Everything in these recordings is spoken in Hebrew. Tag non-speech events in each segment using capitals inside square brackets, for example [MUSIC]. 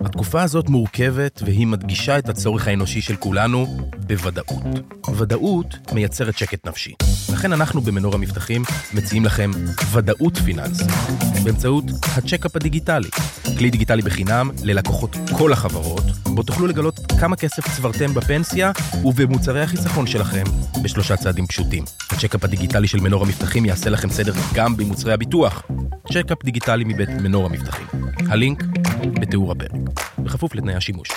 התקופה הזאת מורכבת והיא מדגישה את הצורך האנושי של כולנו בוודאות. ודאות מייצרת שקט נפשי. לכן אנחנו במנור המבטחים מציעים לכם ודאות פיננסית באמצעות הצ'קאפ הדיגיטלי, כלי דיגיטלי בחינם ללקוחות כל החברות, בו תוכלו לגלות כמה כסף צברתם בפנסיה ובמוצרי החיסכון שלכם בשלושה צעדים פשוטים. הצ'קאפ הדיגיטלי של מנור המבטחים יעשה לכם סדר גם במוצרי הביטוח. צ'קאפ דיגיטלי מבית מנור המבטחים. הלינק בתיאור הפרק, בכפוף לתנאי השימוש.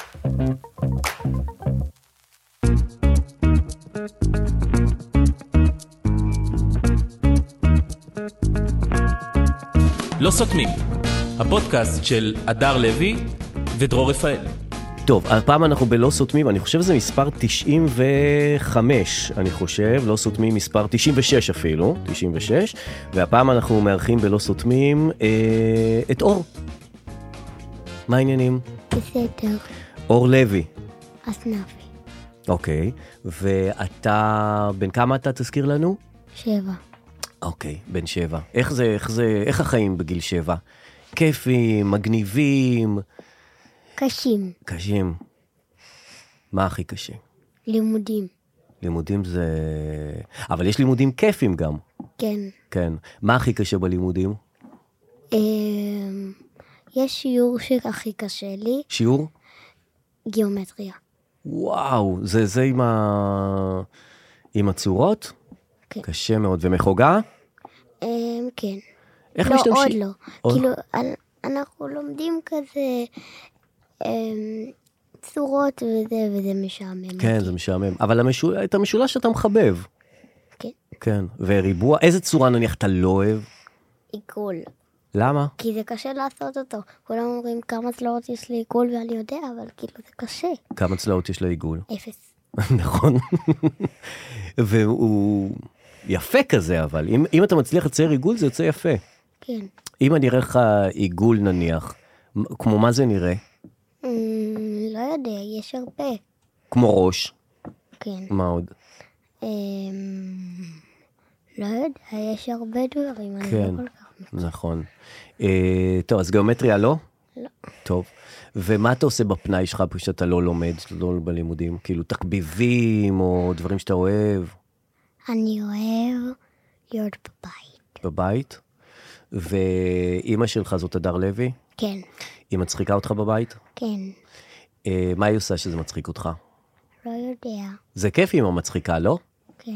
לא סותמים, הפודקאסט של הדר לוי ודרור רפאל. טוב, הפעם אנחנו בלא סותמים, אני חושב שזה מספר 95, אני חושב, לא סותמים מספר 96 אפילו, 96, והפעם אנחנו מארחים בלא סותמים אה, את אור. מה העניינים? בסדר, אור לוי, אז נבי. אוקיי, ואתה, בן כמה אתה תזכיר לנו? שבע. אוקיי, בן שבע. איך זה, איך זה, איך החיים בגיל שבע? כיפים, מגניבים, קשים. קשים. מה הכי קשה? לימודים. לימודים זה... אבל יש לימודים כיפים גם, כן. כן. מה הכי קשה בלימודים? אמ, יש שיעור שהכי קשה לי, שיעור? גיאומטריה. וואו, זה זה עם ה... עם הצורות? כן. קשה מאוד. ומחוגה? אמ, כן. איך לא, משתמשים? עוד לא. עוד- כאילו, אנ- אנחנו לומדים כזה אמ, צורות וזה, וזה משעמם. כן, זה משעמם. אבל המשול... את המשולש אתה מחבב. כן. כן. וריבוע, איזה צורה נניח אתה לא אוהב? עיגול. למה? כי זה קשה לעשות אותו. כולם אומרים כמה צלעות יש לעיגול ואני יודע, אבל כאילו זה קשה. כמה צלעות יש לעיגול? [LAUGHS] אפס. נכון. והוא יפה כזה, אבל אם, אם אתה מצליח לצייר עיגול זה יוצא יפה. כן. אם אני אראה לך עיגול נניח, מ- כמו מה זה נראה? אמ, לא יודע, יש הרבה. כמו ראש, כן. מה עוד? אמ, לא יודע, יש הרבה דברים, אני כן. לא כל כך... נכון. אה, טוב, אז גיאומטריה לא? לא. טוב. ומה אתה עושה בפנאי שלך כשאתה לא לומד, לא בלימודים? כאילו תחביבים או דברים שאתה אוהב אני אוהב להיות בבית. בבית? ואימא שלך זאת הדר לוי? כן, היא מצחיקה אותך בבית? כן, אה, מה היא עושה שזה מצחיק אותך? לא יודע, זה כיף אם היא מצחיקה, לא? כן,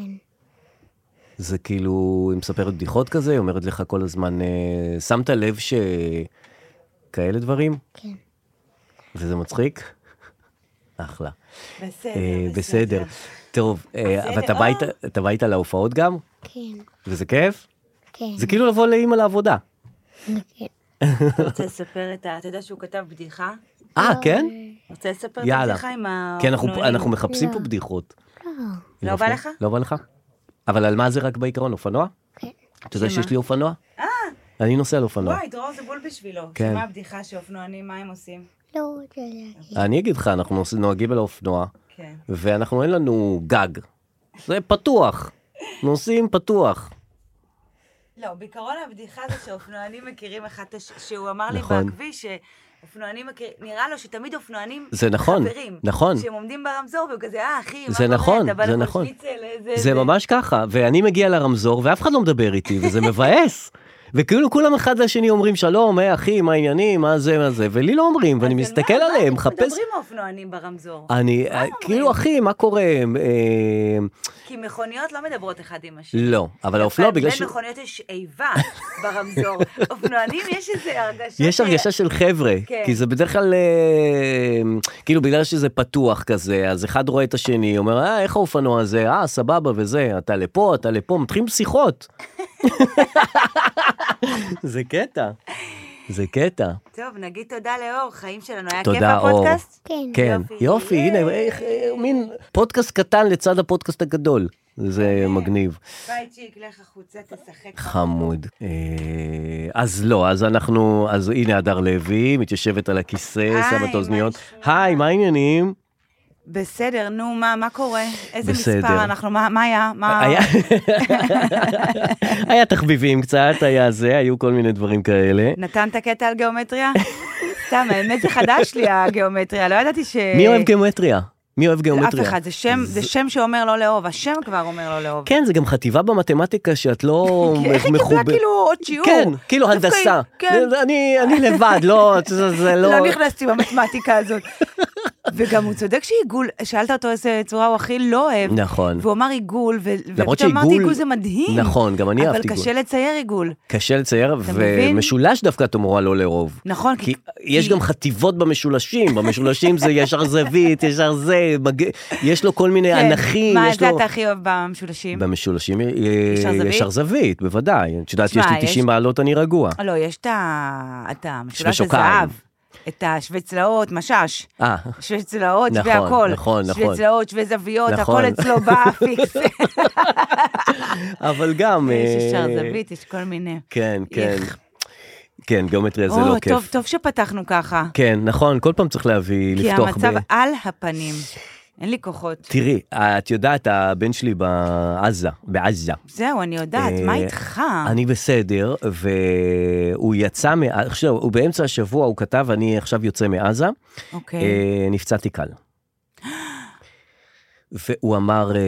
זה כאילו, היא מספרת בדיחות כזה, היא אומרת לך כל הזמן, אה, שמת לב ש... כאלה דברים? כן. וזה מצחיק? [LAUGHS] אחלה. בסדר, אה, בסדר. טוב, אה, אבל אתה בא איתה- אתה בא איתה להופעות גם? כן, וזה כיף? כן, זה כאילו לבוא לאימא לעבודה. כן. אתה רוצה לספר את ה... אתה יודע שהוא כתב בדיחה? אה, לא, כן? רוצה לספר את יאללה. הבדיחה עם ה... כן, אנחנו- אופנועים? אנחנו מחפשים פה לא. בדיחות. לא בא לך? לא בא לך? אבל על מה זה רק בעיקרון? אופנוע? כן. אתה יודע שמה? שיש לי אופנוע? אני נוסע על אופנוע. אה. וואי, דרור זה בול בשבילו. לא. כן. שמה הבדיחה שאופנוענים, מה הם עושים? לא רוצה להגיד. אני אגיד לך, אנחנו נוס- נוהגים על האופנוע, כן. ואנחנו אין לנו גג. זה פתוח. נוסעים פתוח. לא, בעיקרון הבדיחה זה שאופנוענים מכירים אחד את השני, שהוא אמר לי נכון. בכביש שאופנוענים מכירים, נראה לו שתמיד אופנוענים זה נכון, חברים. נכון. שהם עומדים ברמזור והוא כזה, אה, אחי, מה זה קורה? נכון, אתה בא זה לפה נכון. שניצל, איזה- זה ממש ככה, ואני מגיע לרמזור ואף אחד לא מדבר איתי, [LAUGHS] וזה מבאס. וכאילו כולם אחד לשני אומרים שלום, היי אחי, מה העניינים, מה זה, מה זה, ולי לא אומרים, ואני אז על מסתכל מה- מה עליהם, אתם מחפש... מדברים האופנוענים ברמזור. אני, מה כאילו אומרים? אחי, מה קורה? אה, כי מכוניות לא מדברות אחד עם השני. לא, אבל האופנוע בגלל ש... כן, בין מכוניות יש איבה [LAUGHS] ברמזור. אופנוענים יש איזה הרגשה... יש ש- הרגשה של חבר'ה, כן. כי זה בדרך כלל, אה, כאילו בגלל שזה פתוח כזה, אז אחד רואה את השני, אומר, אה, איך האופנוע הזה? אה, סבבה וזה, אתה לפה, אתה לפה, מתחילים שיחות. זה קטע, זה קטע. טוב, נגיד תודה לאור, חיים שלנו. היה כיף תודה, אור. הפודקאסט? כן, כן, יופי. יופי, הנה, ייי. איך, אה, מין פודקאסט קטן לצד הפודקאסט הגדול. זה מגניב, ביי צ'יק, לך החוצה, תשחק. חמוד. אה, אז לא, אז אנחנו, אז הנה הדר לוי, מתיישבת על הכיסא, היי, שמה את מה האוזניות. נשמע? היי, מה העניינים? בסדר, נו, מה, מה קורה? איזה בסדר. מספר אנחנו, מה, מה היה? מה... היה- היה תחביבים קצת, היה זה, היו כל מיני דברים כאלה. נתן את הקטע על גיאומטריה? סתם, האמת זה חדש לי הגיאומטריה, לא ידעתי ש... מי אוהב גיאומטריה? מי אוהב גיאומטריה? אף אחד, זה שם, זה שם שאומר לא לאהוב, השם כבר אומר לא לאהוב. כן, זה גם חטיבה במתמטיקה שאת לא כי איך היא קיבלה מחוברת. כאילו עוד שיעור? כן, כאילו דווקא הנדסה. היא- כן. זה- אני אני לבד, לא, זה זה לא... לא נכנסתי במתמטיקה הזאת. וגם הוא צודק שעיגול, שאלת אותו איזה צורה הוא הכי לא אוהב. נכון. והוא אמר עיגול, ו- למרות ופתאום אמרתי שעיגול- עיגול זה מדהים. נכון, גם אני אהבתי עיגול. אבל קשה לצייר עיגול. קשה לצייר, מבין? ומשולש דווקא את אמורה לא לאהוב. נכון, כי יש גם חטיבות במשולשים, במשולשים זה ישר זווית, ישר זה, מג- יש לו כל מיני כן. אנכים, מה, יש זה לו... אתה הכי אוהב במשולשים? במשולשים אה, ישר זווית? ישר זווית, בוודאי. את יודעת, יש תשמע, לי יש- 90 מעלות, אני רגוע. לא, יש את ה- את המשולש שוקיים. הזהב. את השווה צלעות, משש. אה, שווה צלעות, נכון, שווה הכל. נכון, נכון. שווה צלעות, שווה זוויות, נכון. הכל אצלו בא [LAUGHS] פיקס. אבל גם... יש ישר אה, זווית, יש כל מיני. כן, כן. איך. כן, גיאומטריה זה לא או, טוב, כיף. טוב שפתחנו ככה. כן, נכון, כל פעם צריך להביא, כי לפתוח ב... המצב על הפנים. אין לי כוחות. תראי, את יודעת, הבן שלי בעזה, בעזה. זהו, אני יודעת, אה, מה איתך? אני בסדר, והוא יצא, מע- עכשיו, הוא באמצע השבוע, הוא כתב, אני עכשיו יוצא מעזה, אוקיי. אה, נפצעתי קל. והוא אמר, אה,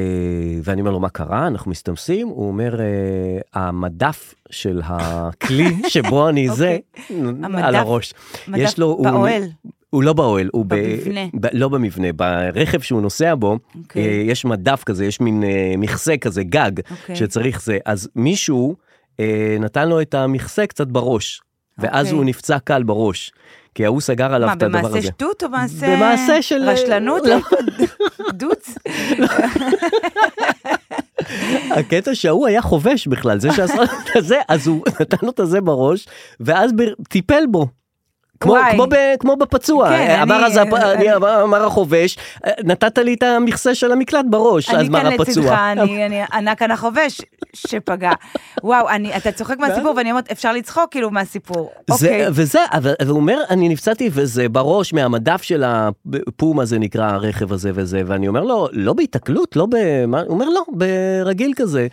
ואני אומר לו, מה קרה? אנחנו מסתמסים? הוא אומר, אה, המדף של [LAUGHS] הכלי שבו אני זה, על אוקיי. המדף- הראש. מדף יש לו- הוא- באוהל. הוא לא באוהל, הוא ב- במבנה. ב... לא במבנה, ברכב שהוא נוסע בו, okay. אוקיי. יש מדף כזה, יש מין אה, מכסה כזה, גג, okay. אוקיי. שצריך זה. אז מישהו אה, נתן לו את המכסה קצת בראש, ואז okay. אוקיי. הוא נפצע קל בש, כי ההוא סגר עליו מה, את הדבר הזה. במעשה שטות או מעשה... במעשה של- רשלנות? לא. דוץ? [LAUGHS] הקטע שההוא היה חובש בכלל, זה שעשה לו את הזה, אז הוא [LAUGHS] נתן לו את הזה בראש, ואז ב- טיפל בו. [LAUGHS] כמו, וואי. כמו, ב, כמו בפצוע, כן, אמר, אני- אז, הפ- אני- אני, אמר, אמר החובש, "אה, נתת לי את המכסה של המקלט בראש, אז אני אמר כאן הפצוע. לצדך, אני- אני ענק כאן החובש שפגע. וואו, אני- אתה צוחק מהסיפור, ואני אומרת, אפשר לצחוק כאילו מהסיפור. זה, אוקיי. וזה, אבל אבל הוא אומר, אני נפצעתי וזה בראש מהמדף של הפום הזה נקרא הרכב הזה וזה, ואני אומר לו, לא בהיתקלות, לא במה, הוא אומר לא, ברגיל כזה.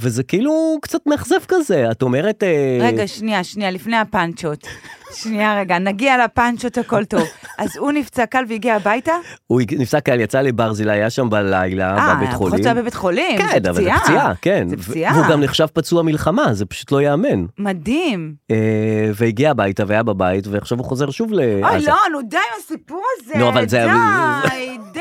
וזה כאילו קצת מאכזב כזה, את אומרת... אה, רגע, שנייה, שנייה, לפני הפאנצ'ות. שנייה, רגע, נגיע לפאנצ'ות, הכל טוב. אז הוא נפצע קל והגיע הביתה? הוא נפסק קהל, יצא לברזילי, היה שם בלילה, בבית אה, חולים. חוץ בבית חולים, כן, זה אבל זה פציעה, כן. זה ו- פציעה. והוא גם נחשב פצוע מלחמה, זה פשוט לא ייאמן. מדהים. אה, והגיע הביתה והיה בבית, ועכשיו הוא חוזר שוב לעזה. אוי, לא, נו, די עם הסיפור הזה. אה, נו, אבל זה- די, די.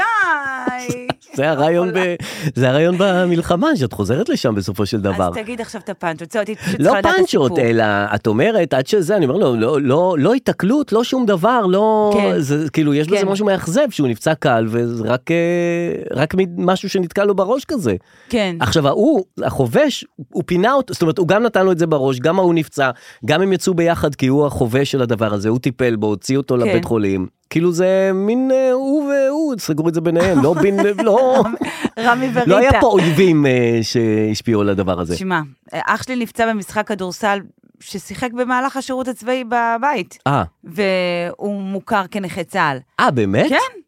[LAUGHS] זה הרעיון, ב... זה הרעיון במלחמה, שאת חוזרת לשם בסופו של דבר. אז תגיד עכשיו את הפאנצ'ות, זהו, הייתי פשוט לא צריכה לדעת את הסיפור. פאנצ'ות, אלא את אומרת, עד שזה, אני אומר לו, לא, לא, לא התקלות, לא שום דבר, לא... כן. זה, כאילו, יש בזה כן. משהו מאכזב, שהוא נפצע קל, וזה רק, אה, רק מ- משהו שנתקע לו בראש כזה. כן. עכשיו ההוא, החובש, הוא פינה אותו, זאת אומרת, הוא גם נתן לו את זה בראש, גם ההוא נפצע, גם הם יצאו ביחד כי הוא החובש של הדבר הזה, הוא טיפל בו, הוציא אותו כן. לבית חולים. כאילו זה מין אה, הוא והוא, סגרו את זה ביניהם, לא בין, [LAUGHS] לא, רמי וריטה. לא היה פה אויבים אה, שהשפיעו על הדבר הזה. תשמע, אח שלי נפצע במשחק כדורסל ששיחק במהלך השירות הצבאי בבית, אה, והוא מוכר כנכה צה"ל. אה באמת? כן,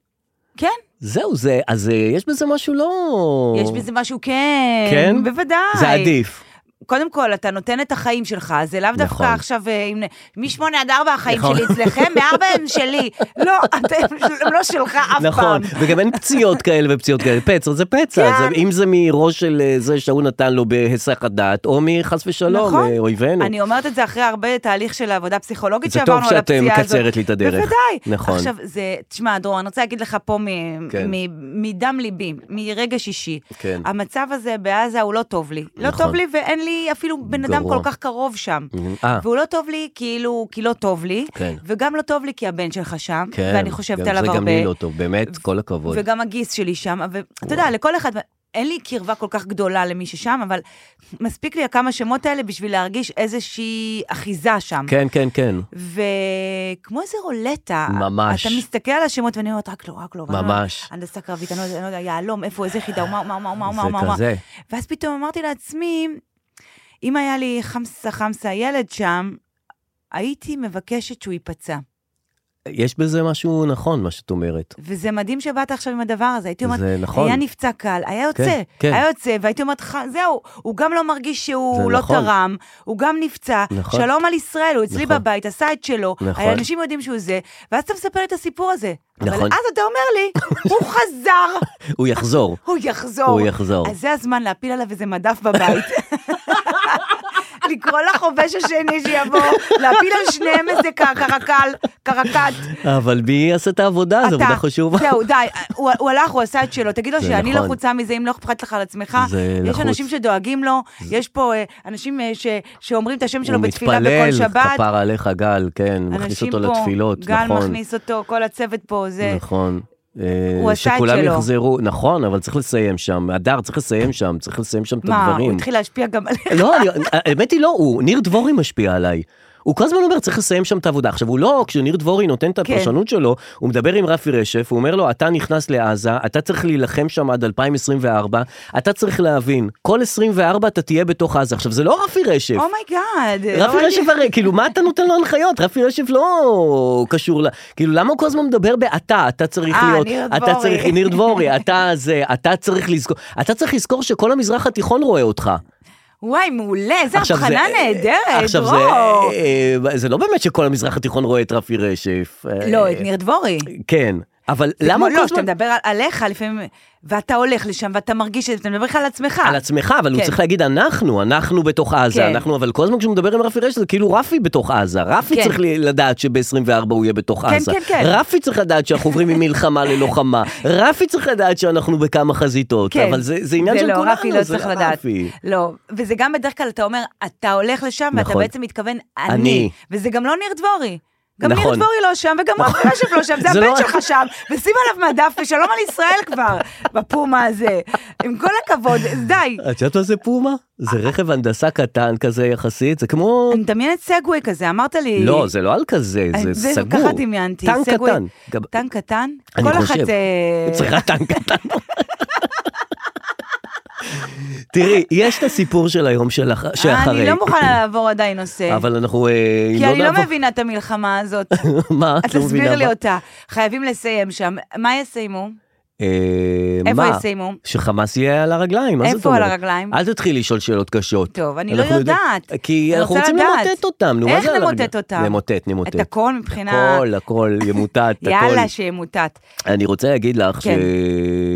כן. זהו, זה, אז אה, יש בזה משהו לא... יש בזה משהו, כן, כן? בוודאי. זה עדיף. קודם כל, אתה נותן את החיים שלך, זה לאו נכון. דווקא עכשיו, אה, אם... נ- משמונה עד ארבע החיים נכון. שלי אצלכם, מארבע הם שלי. לא, אתם הם לא שלך אף נכון, פעם. וגם אין פציעות כאלה ופציעות כאלה, פצע זה פצע, כן. זה, אם זה מראש של אה, זה שההוא נתן לו בהיסח הדעת, או מחס ושלום, נכון. אה, אויבינו. אני אומרת את זה אחרי הרבה תהליך של עבודה פסיכולוגית זה טוב שעברנו על שאת, אה, הפציעה הזאת. מקצרת לי את הדרך. בוודאי. נכון. עכשיו, זה, תשמע, דרור, אני רוצה להגיד לך פה מ- כן. מ- מדם ליבי, מרגע שישי. כן. המצב הזה בעזה הוא לא טוב לי. לא נכון. טוב לי ואין לי אפילו בן אדם גרוע. כל כך קרוב שם. אה, והוא לא טוב לי כאילו, כי לא טוב לי, כן. וגם לא טוב לי כי הבן שלך שם, כן, ואני חושבת גם עליו זה הרבה, גם לי לא טוב, באמת, כל הכבוד. וגם הגיס שלי שם, ואתה יודע, לכל אחד, אין לי קרבה כל כך גדולה למי ששם, אבל מספיק לי הכמה שמות האלה בשביל להרגיש איזושהי אחיזה שם. כן, כן, כן, וכמו איזה רולטה, ממש. אתה מסתכל על השמות ואני אומרת, רק לא, רק לא, רק לא." ממש. הנדסה קרבית, אני לא יודע- אני לא יודע, יהלום, איפה, איזה יחידה, ומה, מה, מה, מה, זה מה, מה, מה. כזה. ואז פתאום אמרתי לעצמי, אם היה לי חמסה חמסה ילד שם, הייתי מבקשת שהוא ייפצע. יש בזה משהו נכון, מה שאת אומרת. וזה מדהים שבאת עכשיו עם הדבר הזה. הייתי אומרת, זה נכון. היה נפצע קל, היה יוצא, כן, כן. היה יוצא, והייתי אומרת לך, זהו, הוא גם לא מרגיש זה שהוא לא נכון. תרם, הוא גם נפצע, נכון. שלום על ישראל, הוא אצלי נכון. בבית, עשה את שלו, נכון. האנשים יודעים שהוא זה, ואז אתה מספר לי את הסיפור הזה. אבל נכון. אז אתה אומר [LAUGHS] לי, הוא חזר, הוא יחזור. הוא יחזור. הוא יחזור. אז זה הזמן להפיל עליו איזה מדף בבית. [LAUGHS] לקרוא לחובש השני שיבוא, להפיל על שניהם איזה ק- קרקל, קרקט. אבל מי יעשה את העבודה? אה, זו אתה- עבודה חשובה. זהו, די, אה, הוא, הוא הלך, הוא עשה את שלו, תגיד לו זה שאני נכון. לחוצה מזה, אם לא אכפת לך על עצמך. זה יש לחוץ. אנשים שדואגים לו, יש פה אה, אנשים אה, ש, שאומרים את השם שלו הוא בתפילה מתפלל, בכל שבת. כפר עליך גל, כן, מכניס אנשים אותו פה, לתפילות, גל נכון. מכניס אותו, כל הצוות פה, זה... נכון. אה, הוא עשה את שכולם שלו. יחזרו, נכון, אבל צריך לסיים שם, הדר צריך לסיים שם, צריך לסיים שם את מה, הוא הדברים. התחיל להשפיע גם עליך? לא, אני- האמת היא לא הוא, ניר דבורי משפיע עליי. הוא כל הזמן אומר, צריך לסיים שם את העבודה. עכשיו, הוא לא, כשניר דבורי נותן את כן. הפרשנות שלו, הוא מדבר עם רפי רשף, הוא אומר לו, אתה נכנס לעזה, אתה צריך להילחם שם עד 2024, אתה צריך להבין, כל 24 אתה תהיה בתוך עזה. עכשיו, זה לא רפי רשף. Oh אומייגאד. רפי רשף הרי, כאילו, מה אתה נותן לו הנחיות? רפי רשף לא קשור ל... כאילו, למה הוא כל הזמן מדבר באתה? אתה צריך אה, להיות... ניר אתה דבורי. צריך, ניר דבורי, אתה זה, אתה צריך לזכור... אתה צריך לזכור שכל המזרח התיכון רואה אותך. וואי, מעולה, איזה עכשיו, הבחנה זה- נהדרת, עכשיו, זה, דרור. אה, זה לא באמת שכל המזרח התיכון רואה את רפי רשף. אה, לא, את ניר דבורי. כן, אבל זה למה כמו כל לא, שאתה הזמן... מדבר על- עליך לפעמים, ואתה הולך לשם ואתה מרגיש את זה, אתה מדבר לך על עצמך. על עצמך, אבל הוא כן. צריך להגיד אנחנו, אנחנו בתוך עזה, כן. אנחנו, אבל כל הזמן כשהוא מדבר עם רפי רשף, זה כאילו רפי בתוך עזה. רפי כן. צריך ל- לדעת שב-24 הוא יהיה בתוך כן, עזה. כן, כן. רפי צריך לדעת שאנחנו עוברים [LAUGHS] ממלחמה ללוחמה. רפי צריך לדעת שאנחנו בכמה חזיתות. כן. אבל זה זה עניין של לא, כולנו, רפי לא זה צריך לדעת. רפי. לא, וזה גם בדרך כלל אתה אומר, אתה הולך לשם ואתה נכון. בעצם מתכוון אני. אני. וזה גם לא ניר דבורי. גם ניר נכון. דבורי לא שם, וגם רפי רשף לא שם, זה [LAUGHS] זה לא- הבן שלך שם, ושים עליו מדף, ושלום על ישראל כבר, [LAUGHS] בפומה הזה. עם כל הכבוד, די. את יודעת מה זה פומה? זה אה. רכב הנדסה קטן כזה יחסית, זה כמו אני מדמיינת סגווי כזה, אמרת לי... לא, זה לא על כזה, אה, זה זה סגור. ככה דמיינתי, טנק סגווי. קטן. גם- טנק קטן? אני כל חושב. אחת... אה, צריכה טנק קטן. תראי, יש את הסיפור של היום שלח- אני שאחרי, לא מוכנה לעבור עדיין נושא. אבל אנחנו... אה, אם כי אני לא נעבור- מבינה את המלחמה הזאת. [LAUGHS] מה? אז את לא תסביר מבינה לי מה? אותה. חייבים לסיים שם. מה יסיימו? אה, איפה מה? יסיימו? שחמאס יהיה על הרגליים, מה זאת איפה על אומרת? הרגליים? אל תתחילי לשאול שאלות קשות. טוב, אני לא אנחנו יודעים- יודעת. כי אני אנחנו רוצה רוצים לדעת. למוטט אותם, נו, מה איך זה על הרגליים? למוטט אותם? למוטט, נמוטט. את הכל מבחינה... הכל, הכל, ימוטט, הכל. יאללה, שימוטט. אני רוצה להגיד לך כן.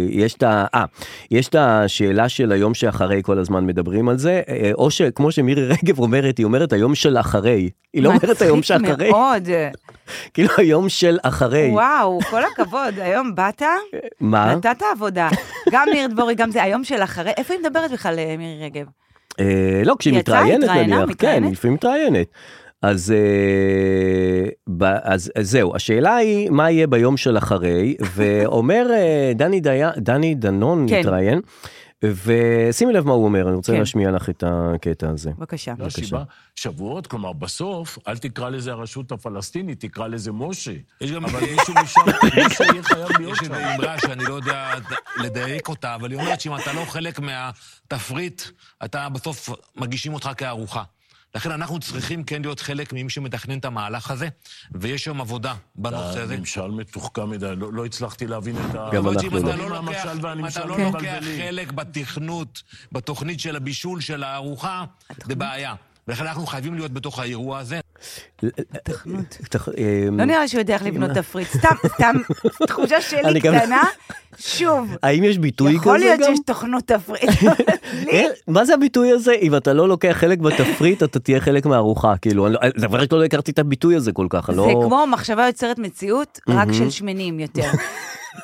שיש את ה... אה, יש את השאלה של היום שאחרי כל הזמן מדברים על זה, אה, או שכמו שמירי [LAUGHS] רגב אומרת, היא אומרת היום של אחרי. היא לא אומרת היום שאחרי, מצחיק מאוד. [LAUGHS] כאילו היום של אחרי. וואו, כל הכבוד. היום באת, אה? מה? נתת עבודה. גם ניר דבורי, גם זה היום של אחרי. איפה היא מדברת בכלל, אה, מירי רגב? אה, לא, כשהיא היא יצאה, מתראיינת התראיינה, נניח, כן, מתראיינת? היא לפעמים מתראיינת. אז, אה, ב, אז, אז זהו, השאלה היא מה יהיה ביום של [LAUGHS] אחרי, ואומר אה, דני, די, דני דנון כן. מתראיין, ושימי לב מה הוא אומר, אני רוצה כן. להשמיע לך את הקטע הזה. בבקשה. לא שבעה שבועות, כלומר, בסוף, אל תקרא לזה הרשות הפלסטינית, תקרא לזה משה. יש גם אה, אבל מישהו [LAUGHS] משם, מישהו יהיה חייב להיות יש איזו שם. אמרה שאני לא יודע לדייק אותה, אבל היא אומרת שאם אתה לא חלק מהתפריט, אתה בסוף מגישים אותך כארוחה. לכן אנחנו צריכים כן להיות חלק ממי שמתכנן את המהלך הזה, ויש היום עבודה בנושא הזה. הממשל מתוחכם מדי, לא לא הצלחתי להבין את ה... גם אבל אנחנו אם לא. אתה לא לוקח- המשל אם אתה והנמשל לא לוקח חלק בתכנות, בתוכנית של הבישול של הארוחה, זה בעיה. ולכן אנחנו חייבים להיות בתוך האירוע הזה. תכנות. תח- אה, לא נראה לי שהוא יודע איך לבנות תפריט. סתם, סתם, תחושה שלי אני גם- קטנה. שוב, האם יש ביטוי יכול כזה להיות גם? שיש תוכנות תפריט. אה, מה זה הביטוי הזה? אם אתה לא לוקח חלק בתפריט, אתה תהיה חלק מהארוחה. כאילו, אני לא- דבר ראשון, לא הכרתי את הביטוי הזה כל כך, אני לא... זה כמו מחשבה יוצרת מציאות, רק של שמנים יותר.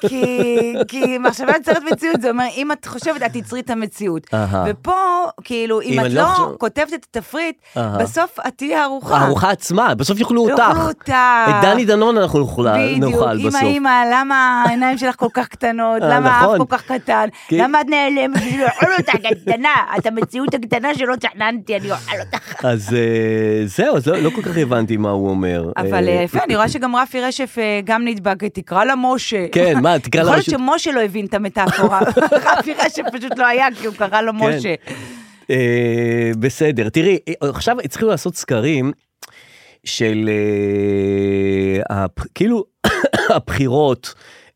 כי, כי מחשבה יוצרת מציאות, זה אומר, אם את חושבת, את תיצרי את המציאות. אהה. ופה, כאילו, אם, אם את אני לא לא חושב- כותבת את התפריט, אהה. בסוף את תהיי ערוכה. הארוחה עצמה, בסוף יאכלו אותך. יאכלו אותך. את דני דנון אנחנו נאכל לא, בדיוק, נאכל אמא, בסוף. אמא, למה העיניים שלך כל כך קטנות? אה, למה האף נכון. כל כך קטן? כי- למה את נעלמת? [LAUGHS] לא בשביל לאכול אותך קטנה, את המציאות הקטנה שלא תכננתי, אני אוכל אותך. אז אה, זהו, אז לא לא כל כך הבנתי מה הוא אומר. אבל אה, אה, יפה, אני רואה שגם רפי רשף אה, גם נדבק, תקרא לה משה. כן, מה, תקרא לה יכול רשות- להיות שמשה לא הבין את [LAUGHS] המטאפורה, רפי רשף פשוט לא היה, כי הוא קרא לו כן. משה. אה, בסדר, תראי, אה, עכשיו התחילו לעשות סקרים של אה, הפ- כאילו [COUGHS] הבחירות,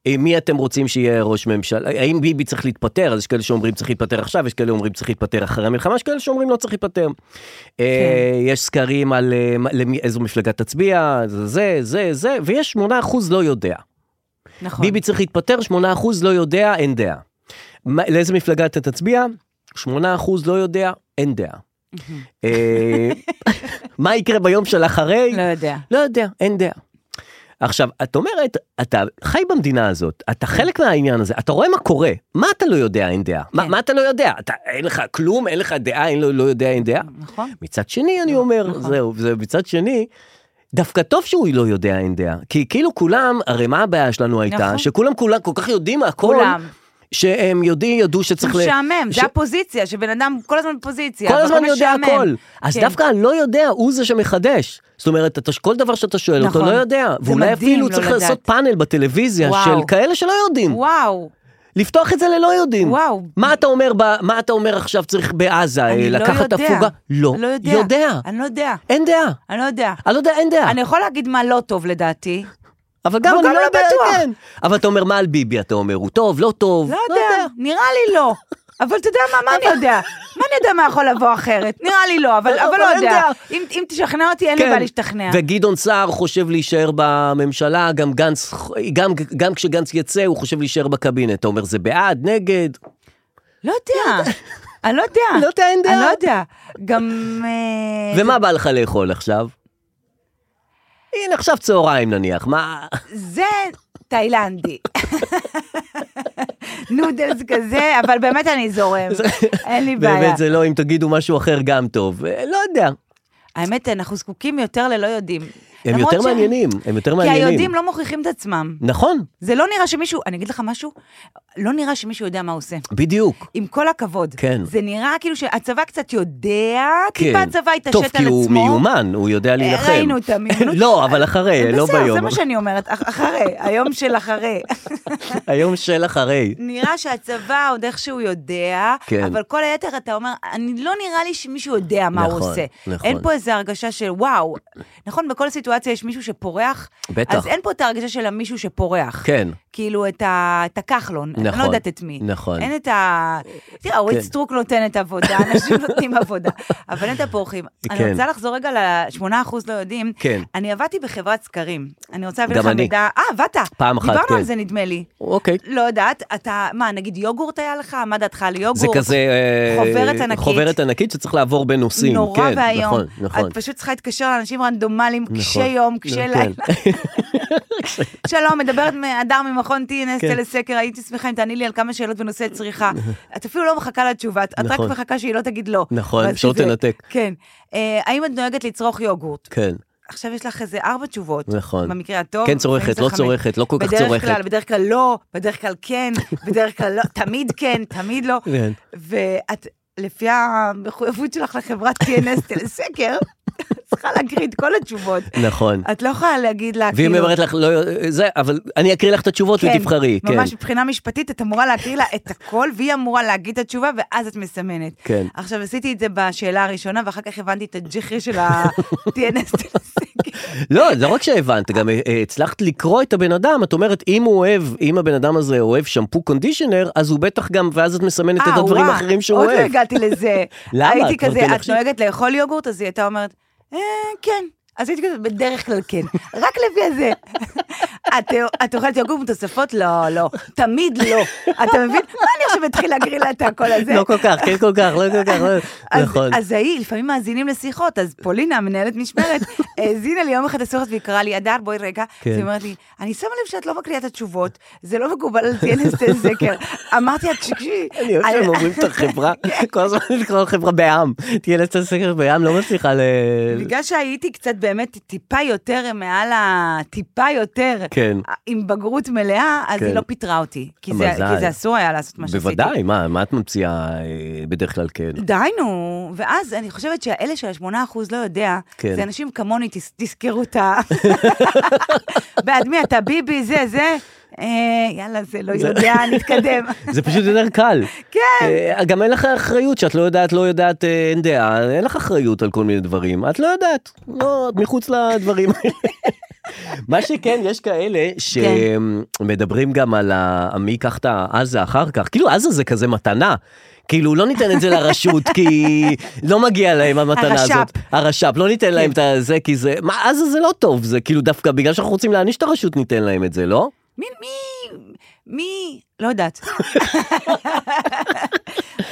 אה, מי אתם רוצים שיהיה ראש ממשלה, האם ביבי צריך להתפטר, אז יש כאלה שאומרים צריך להתפטר עכשיו, יש כאלה שאומרים צריך להתפטר אחרי המלחמה, יש כאלה שאומרים לא צריך להתפטר. אה, יש סקרים על אה, מה- למי- איזו מפלגה תצביע, זה, זה, זה, זה, ויש 8% לא יודע. נכון. ביבי צריך להתפטר, 8% לא יודע, אין דעה. מה- לאיזה מפלגה אתה תצביע? 8% לא יודע, אין דעה. [LAUGHS] אה, מה יקרה ביום של אחרי? לא יודע. לא יודע, אין דעה. עכשיו, את אומרת, אתה חי במדינה הזאת, אתה חלק מהעניין הזה, אתה רואה מה קורה, מה אתה לא יודע, אין דעה? מה, כן. מה אתה לא יודע? אתה, אין לך כלום, אין לך דעה, אין, לא, לא יודע, אין דעה? נכון. מצד שני, אני אומר, נכון. זהו, זה מצד שני, דווקא טוב שהוא לא יודע, אין דעה. כי כאילו כולם, הרי מה הבעיה שלנו הייתה? נכון. שכולם כולם כל כך יודעים הכל, כולם. שהם יודעים, ידעו שצריך... ל- משעמם, ש- זה הפוזיציה, שבן אדם כל הזמן בפוזיציה. כל הזמן והכל יודע משעמם. הכל. אז כן. דווקא הלא יודע הוא זה שמחדש. זאת אומרת, אתה, כל דבר שאתה שואל אותו נכון. לא יודע. זה ואולי מדהים אפילו לא צריך לדעת. לעשות פאנל בטלוויזיה וואו. של כאלה שלא יודעים. וואו, לפתוח את זה ללא יודעים. וואו. מה אתה אומר, ב, מה אתה אומר עכשיו צריך בעזה, אה, אני לא לקחת יודע. הפוגה? לא, לא יודע. יודע. אני לא יודע. אין דעה. אני לא יודע. אני לא יודע, אין דעה. אני יכול להגיד מה לא טוב לדעתי. אבל גם אבל אני גם לא לא יודע, בטוח. כן. אבל אתה אומר, מה על ביבי? אתה אומר, הוא טוב, לא טוב? לא יודע, נראה לי לא. אבל אתה יודע מה, מה אני יודע? מה אני יודע מה יכול לבוא אחרת? נראה לי לא, אבל אבל- אבל אבל לא אין יודע. דעה. אם אם תשכנע אותי, אין לי כן. בעיה להשתכנע. וגדעון סער חושב להישאר בממשלה, גם גנץ, גם, גם כשגנץ יצא, הוא חושב להישאר בקבינט. אתה אומר, זה בעד, נגד? לא יודע. אני לא יודע. לא יודע, אין דעה. אני לא יודע. גם... אה, ומה בא לך לאכול עכשיו? הנה, עכשיו צהריים נניח, מה... זה תאילנדי. [LAUGHS] נודלס כזה, אבל באמת אני זורם. אין לי בעיה. באמת זה לא, אם תגידו משהו אחר גם טוב. אה, לא יודע. האמת, אנחנו זקוקים יותר ללא יודעים. הם למרות יותר ש- מעניינים, הם יותר כי מעניינים. היודעים לא מוכיחים את עצמם. נכון, זה לא נראה שמישהו, אני אגיד לך משהו, לא נראה שמישהו יודע מה הוא עושה. בדיוק. עם כל הכבוד. כן. זה נראה כאילו שהצבא קצת יודע, טיפה כן. הצבא התעשת על טוב, עצמו. כי הוא מיומן, הוא יודע להילחם. ראינו את המיומנות. [LAUGHS] לא, אבל אחרי, לא בסדר, זה ביום. מה שאני אומרת, אח- אחרי, היום של אחרי. [LAUGHS] היום של אחרי. נראה שהצבא עוד איכשהו יודע, כן. אבל כל היתר אתה אומר, אני לא נראה לי שמישהו יודע מה נכון, הוא עושה. נכון. אין פה איזו הרגשה של וואו. נכון, בכל סיטואציה יש מישהו שפורח, בטח. אז אין פה את ההרגשה של המישהו שפורח. כן. כאילו, את, ה, את הכחלון, אני נכון, לא יודעת את מי. נכון. אין את ה... תראה, אורית כן. סטרוק נותנת עבודה, [LAUGHS] אנשים נותנים עבודה, אבל אין את הפורחים. כן. אני רוצה לחזור רגע ל-8% לא יודעים. כן. אני עבדתי בחברת סקרים. אני רוצה להביא גם לך אני. מידע... אה, עבדת. פעם אחת, דיברנו כן. על זה, נדמה לי. אוקיי. לא יודעת, אתה, מה, נגיד יוגורט היה לך? מה דעתך על יוגורט? זה כזה... אה, חוברת ענקית. חוברת ענקית שצריך לעבור בין נושאים. נורא כן, ואיום. נכון, נכון. את פשוט צריכה להתקשר לאנשים רנדומליים, נכון. קשי יום, קשי כן. לילה. שלום, מדברת מהדר ממכון TNS כן. טלסקר, הייתי שמחה אם תעני לי על כמה שאלות בנושא צריכה. את אפילו לא מחכה לתשובה, את רק נכון. מחכה שהיא לא תגיד לא. [LAUGHS] נכון, ואז שלא שזה- תנתק. כן. אה, האם את נוהגת לצרוך יוגורט? כן. עכשיו יש לך איזה ארבע תשובות. נכון. במקרה הטוב. כן צורכת, לפעמים זה לא חמש. צורכת, לא כל כך בדרך צורכת. כלל, בדרך כלל לא, בדרך כלל כן, בדרך כלל לא, תמיד כן, תמיד לא. כן. ואת, לפי המחויבות שלך לחברת [LAUGHS] TNS טלסקר, צריכה להקריא את כל התשובות. נכון. את לא יכולה להגיד לה, ואם כאילו... היא אומרת לך, לא, זה, אבל אני אקריא לך את התשובות כן, ותבחרי. כן, ממש מבחינה משפטית, את אמורה להקריא לה את הכל, והיא אמורה להגיד את התשובה, ואז את מסמנת. כן. עכשיו, עשיתי את זה בשאלה הראשונה, ואחר כך הבנתי את הג'חרי של [LAUGHS] ה-TNS טלסקר. לא, לא רק שהבנת, גם אה, אה, הצלחת לקרוא את הבן אדם, את אומרת, אם הוא אוהב, אם הבן אדם הזה אוהב שמפו קונדישנר, אז הוא בטח גם, ואז את מסמנת את אה, הדברים וואו, האחרים שהוא עוד אוהב. עוד לא הגעתי לזה. [LAUGHS] למה? הייתי את כבר כזה, כן את עכשיו- נוהגת לאכול יוגורט? אז היא הייתה אומרת, "אה, כן. אז הייתי כזה, בדרך כלל כן. [LAUGHS] רק לפי הזה. [LAUGHS] את, את אוכלת יוגורט עם תוספות? לא, לא. תמיד לא. [LAUGHS] אתה מבין? מה אני עכשיו אתחיל להגריל לה את הקול הזה? לא כל כך, כן כל כך, לא כל כך, לא, [LAUGHS] אז, נכון. אז ההיא, לפעמים מאזינים לשיחות, אז פולינה, מנהלת משמרת, [LAUGHS] האזינה לי יום אחד לשיחות והיא קראה לי, הדר, בואי רגע. כן. כן. אז היא אומרת לי, אני שמה לב שאת לא מקריאה את התשובות, זה לא מקובל על TNS זקר. [LAUGHS] אמרתי לה, תקשיבי. אני אוהב שהם אומרים את [LAUGHS] החברה, כל הזמן לקרוא לחברה בעם. תהיה לצד סקר בעם, לא מצליחה ל... בגלל שהייתי קצת באמת טיפה יותר מעל ה... טיפה יותר. כן. עם בגרות מלאה, אז כן. היא לא פיטרה אותי. כי זה, מזל. כי זה אסור היה לעשות מה שעשיתי. בוודאי, מה מה את ממציאה אה, בדרך כלל כן? די נו, ואז אני חושבת שהאלה של ה-8% לא יודע, כן. זה אנשים כמוני, תס, תזכרו את [LAUGHS] ה... בעד מי אתה, ביבי, זה, זה, אה, יאללה, זה לא יודע, נתקדם. [LAUGHS] זה פשוט יותר קל. כן. אה, גם אין לך אחריות שאת לא יודעת, לא יודעת, אה, אין דעה, אין לך אחריות על כל מיני דברים. את לא יודעת. לא, את מחוץ לדברים. [LAUGHS] מה שכן, יש כאלה שמדברים גם על ה... "אה, מי ייקח את העזה אחר כך. כאילו, עזה זה כזה מתנה. כאילו, לא ניתן את זה לרשות, כי לא מגיע להם המתנה הרש"פ. כן. הזאת. הרש"פ. לא ניתן להם את זה, כי זה... מה, עזה זה לא טוב, זה כאילו דווקא בגלל שאנחנו רוצים להעניש את הרשות, ניתן להם את זה, לא? מי, מי, מי, לא יודעת.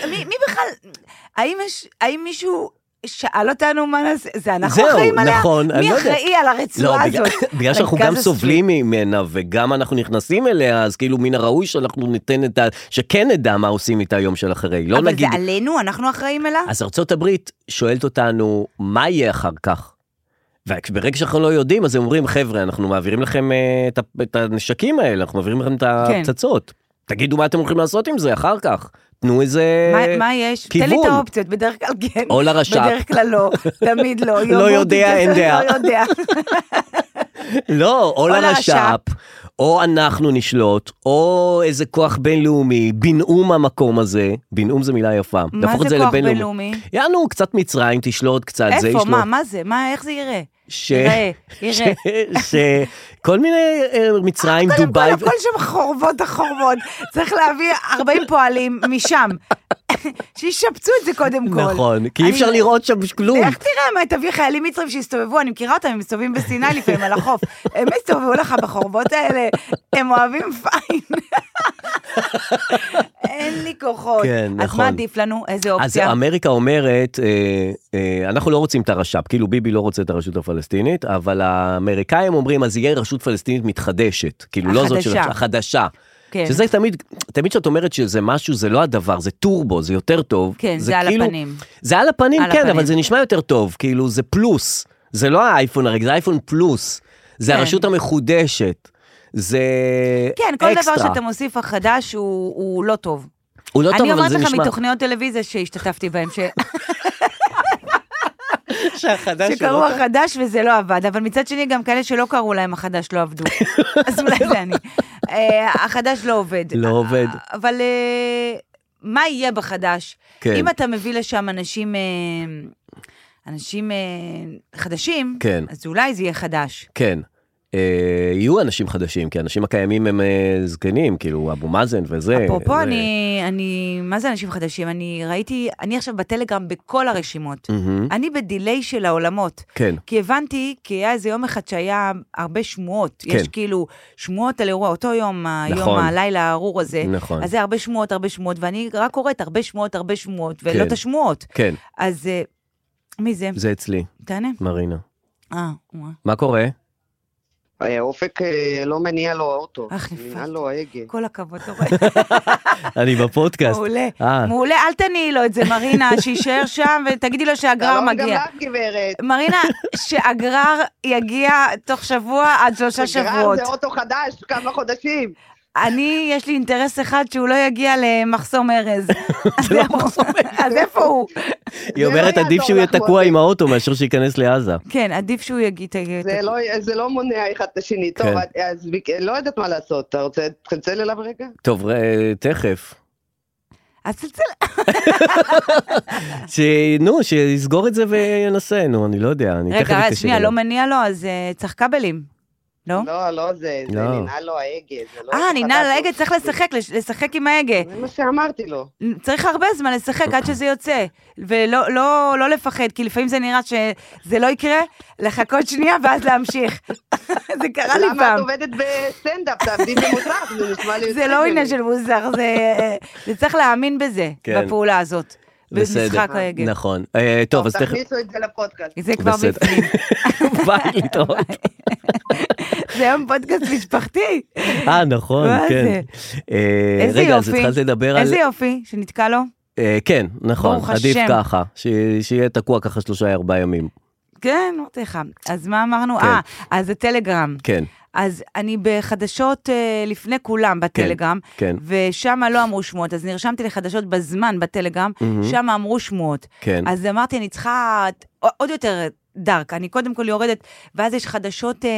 מי, מי בכלל, האם יש, האם מישהו שאל אותנו מה נעשה, זה אנחנו זהו, אחראים עליה? נכון, אני מי לא יודעת. אחראי על לא, הרצועה בגלל- הזאת? בגלל שאנחנו מרכז גם הספרות. סובלים ממנה וגם אנחנו נכנסים אליה, אז כאילו מן הראוי שאנחנו ניתן את ה... שכן נדע מה עושים איתה יום של אחרי. [LAUGHS] לא אבל נגיד... זה עלינו, אנחנו אחראים עליה? אז ארצות הברית שואלת אותנו, מה יהיה אחר כך? וברגע שאנחנו לא יודעים, אז הם אומרים, חבר'ה, אנחנו מעבירים לכם אה, את ה- את הנשקים האלה, אנחנו מעבירים כן. לכם את הפצצות. תגידו מה אתם הולכים לעשות עם זה אחר כך. תנו איזה... מה- מה יש? תן לי אה, כיוון. את האופציות, בדרך כלל כן. או לרש"פ. בדרך כלל לא, תמיד [LAUGHS] לא. יוגורט יודע, עם אין כזה, דעה. לא יודע. לא, או לרש"פ, לרש"פ. או אנחנו נשלוט, או איזה כוח בינלאומי, בינאום המקום הזה. בינאום זה מילה יפה. מה להפוך את זה כוח לבינלאומי. בינלאומי? יענו, קצת מצרים, תשלוט קצת, זה איפה? ישלוט. מה? מה זה? מה? איך זה יראה? ש... יראה, יראה. שכל מיני אה, מצרים, קודם כל, לא, דובאי, הכל שם חורבות החורבות. צריך להביא 40 פועלים משם. [LAUGHS] שישפצו את זה קודם כל. נכון, כי אי אני- אפשר לראות שם כלום. איך תראה, מה, תביא חיילים מצרים שיסתובבו, אני מכירה אותם, הם מסתובבים בסיני לפעמים על [LAUGHS] החוף. הם יסתובבו לך בחורבות האלה, הם אוהבים פיין. [LAUGHS] אין לי כוחות. כן, אז נכון. מה עדיף לנו? איזה אז אופציה? אמריקה אומרת, אה, אה, אנחנו לא רוצים את הרש"פ, כאילו ביבי לא רוצה את הרשות הפלסטינית, אבל האמריקאים אומרים, אז יהיה רשות פלסטינית מתחדשת, כאילו לא זאת של החדשה. החדשה. כן. שזה תמיד, תמיד כשאת אומרת שזה משהו, זה לא הדבר, זה טורבו, זה יותר טוב. כן, זה על הפנים. זה על הפנים, על כן, הפנים. אבל זה נשמע יותר טוב, כאילו זה פלוס. זה לא האייפון הרגע, זה אייפון פלוס. זה כן. הרשות המחודשת. זה כן, כל אקסטרה. דבר שאתה מוסיף החדש הוא הוא לא טוב. הוא לא טוב, אני אבל אומרת זה לך נשמע... מתוכניות טלוויזיה שהשתתפתי בהן, ש- שהחדש הוא שקראו לא- החדש וזה לא עבד, אבל מצד שני גם כאלה שלא קראו להם החדש לא [LAUGHS] עבדו. אז אולי זה אני. אה, החדש לא עובד. לא עובד. אבל אה, מה יהיה בחדש? כן. אם אתה מביא לשם אנשים... אה, אנשים אה, חדשים, כן. אז אולי זה יהיה חדש. כן. אה, יהיו אנשים חדשים, כי האנשים הקיימים הם אה, זקנים, כאילו אבו מאזן וזה. אה, אפרופו, זה- אני, אני, מה זה אנשים חדשים? אני ראיתי, אני עכשיו בטלגרם בכל הרשימות. מהמם. אני בדיליי של העולמות. כן. כי הבנתי, כי היה איזה יום אחד שהיה הרבה שמועות. כן. יש כאילו שמועות על אירוע, אותו יום, היום, נכון. הלילה הארור הזה. נכון. אז זה הרבה שמועות, הרבה שמועות, ואני רק קוראת הרבה שמועות, הרבה שמועות, ולא כן. את השמועות. כן, אז אה, מי זה? זה אצלי, תענה. מרינה. אה, וואה. מה קורה? אה, אופק אה, לא מניע לו האוטו, אך, מניע נפלתי. לו ההגה. כל הכבוד, [LAUGHS] אתה רואה. אני בפודקאסט. מעולה. אה. מעולה, אל תניעי לו את זה, מרינה, שיישאר שם ותגידי לו שהגרר שלום מגיע. לא, גם לך, גברת. מרינה, שהגרר יגיע תוך שבוע עד שלושה גרר שבועות. זה אוטו חדש, כמה חודשים. אני, יש לי אינטרס אחד שהוא לא יגיע למחסום [LAUGHS] ארז. אז לא איפה- אז איפה הוא? היא זה לא אומרת עדיף יעזור שהוא יהיה לך, תקוע מוטי. עם האוטו מאשר שייכנס לעזה. כן, עדיף שהוא יגיע. ת- זה לא, זה לא מונע אחד את השני. טוב, כן. אז ביק- לא יודעת מה לעשות. אתה רוצה לצלצל אליו רגע? טוב, אה, תכף. אז תצא, ש... נו, שיסגור את זה וינסה, נו, אני לא יודע, אני תכף רגע, רגע, אתקשר שנייה, אליו. לא מניע לו, אז אה, צריך כבלים. לא? לא, לא, זה, זה לא. ננעל לו ההגה. זה לא אה, אוטו נינא חדש. להגה, צריך לשחק, לש- לשחק עם ההגה. זה מה שאמרתי לו. צריך הרבה זמן לשחק אוקיי. עד שזה יוצא, ולא לא, לא לפחד, כי לפעמים זה נראה שזה לא יקרה, לחכות שנייה ואז להמשיך. [LAUGHS] זה קרה לי למה את פעם. עובדת בסטנדאפ? תעבדי במוסך, זה נשמע לי... זה יותר לא הגיוני. עניין של מוזר, זה, אה, זה צריך להאמין בזה, כן. בפעולה הזאת. בסדר. במשחק ההגה. נכון. אה, טוב, אז [LAUGHS] תכף... תכניסו את זה לפודקאסט. זה כבר בסדר. [LAUGHS] בפנים. ביי, להתראות. זה היום פודקאסט משפחתי. אה, נכון, [LAUGHS] מה כן. זה? אה, איזה רגע, אז יופי. התחלת לדבר על... איזה יופי שנתקע לו. אה, כן, נכון, ברוך עדיף השם. ככה, ש- שיהיה תקוע ככה שלושה ארבעה ימים. כן, אמרתי לך. אז מה אמרנו? כן. אה, אז הטלגרם. כן, אז אני בחדשות אה, לפני כולם בטלגרם, כן. ושם לא אמרו שמועות, אז נרשמתי לחדשות בזמן בטלגרם, שם אמרו שמועות. כן. אז אמרתי, אני צריכה עוד יותר דארק. אני קודם כל יורדת, ואז יש חדשות אה,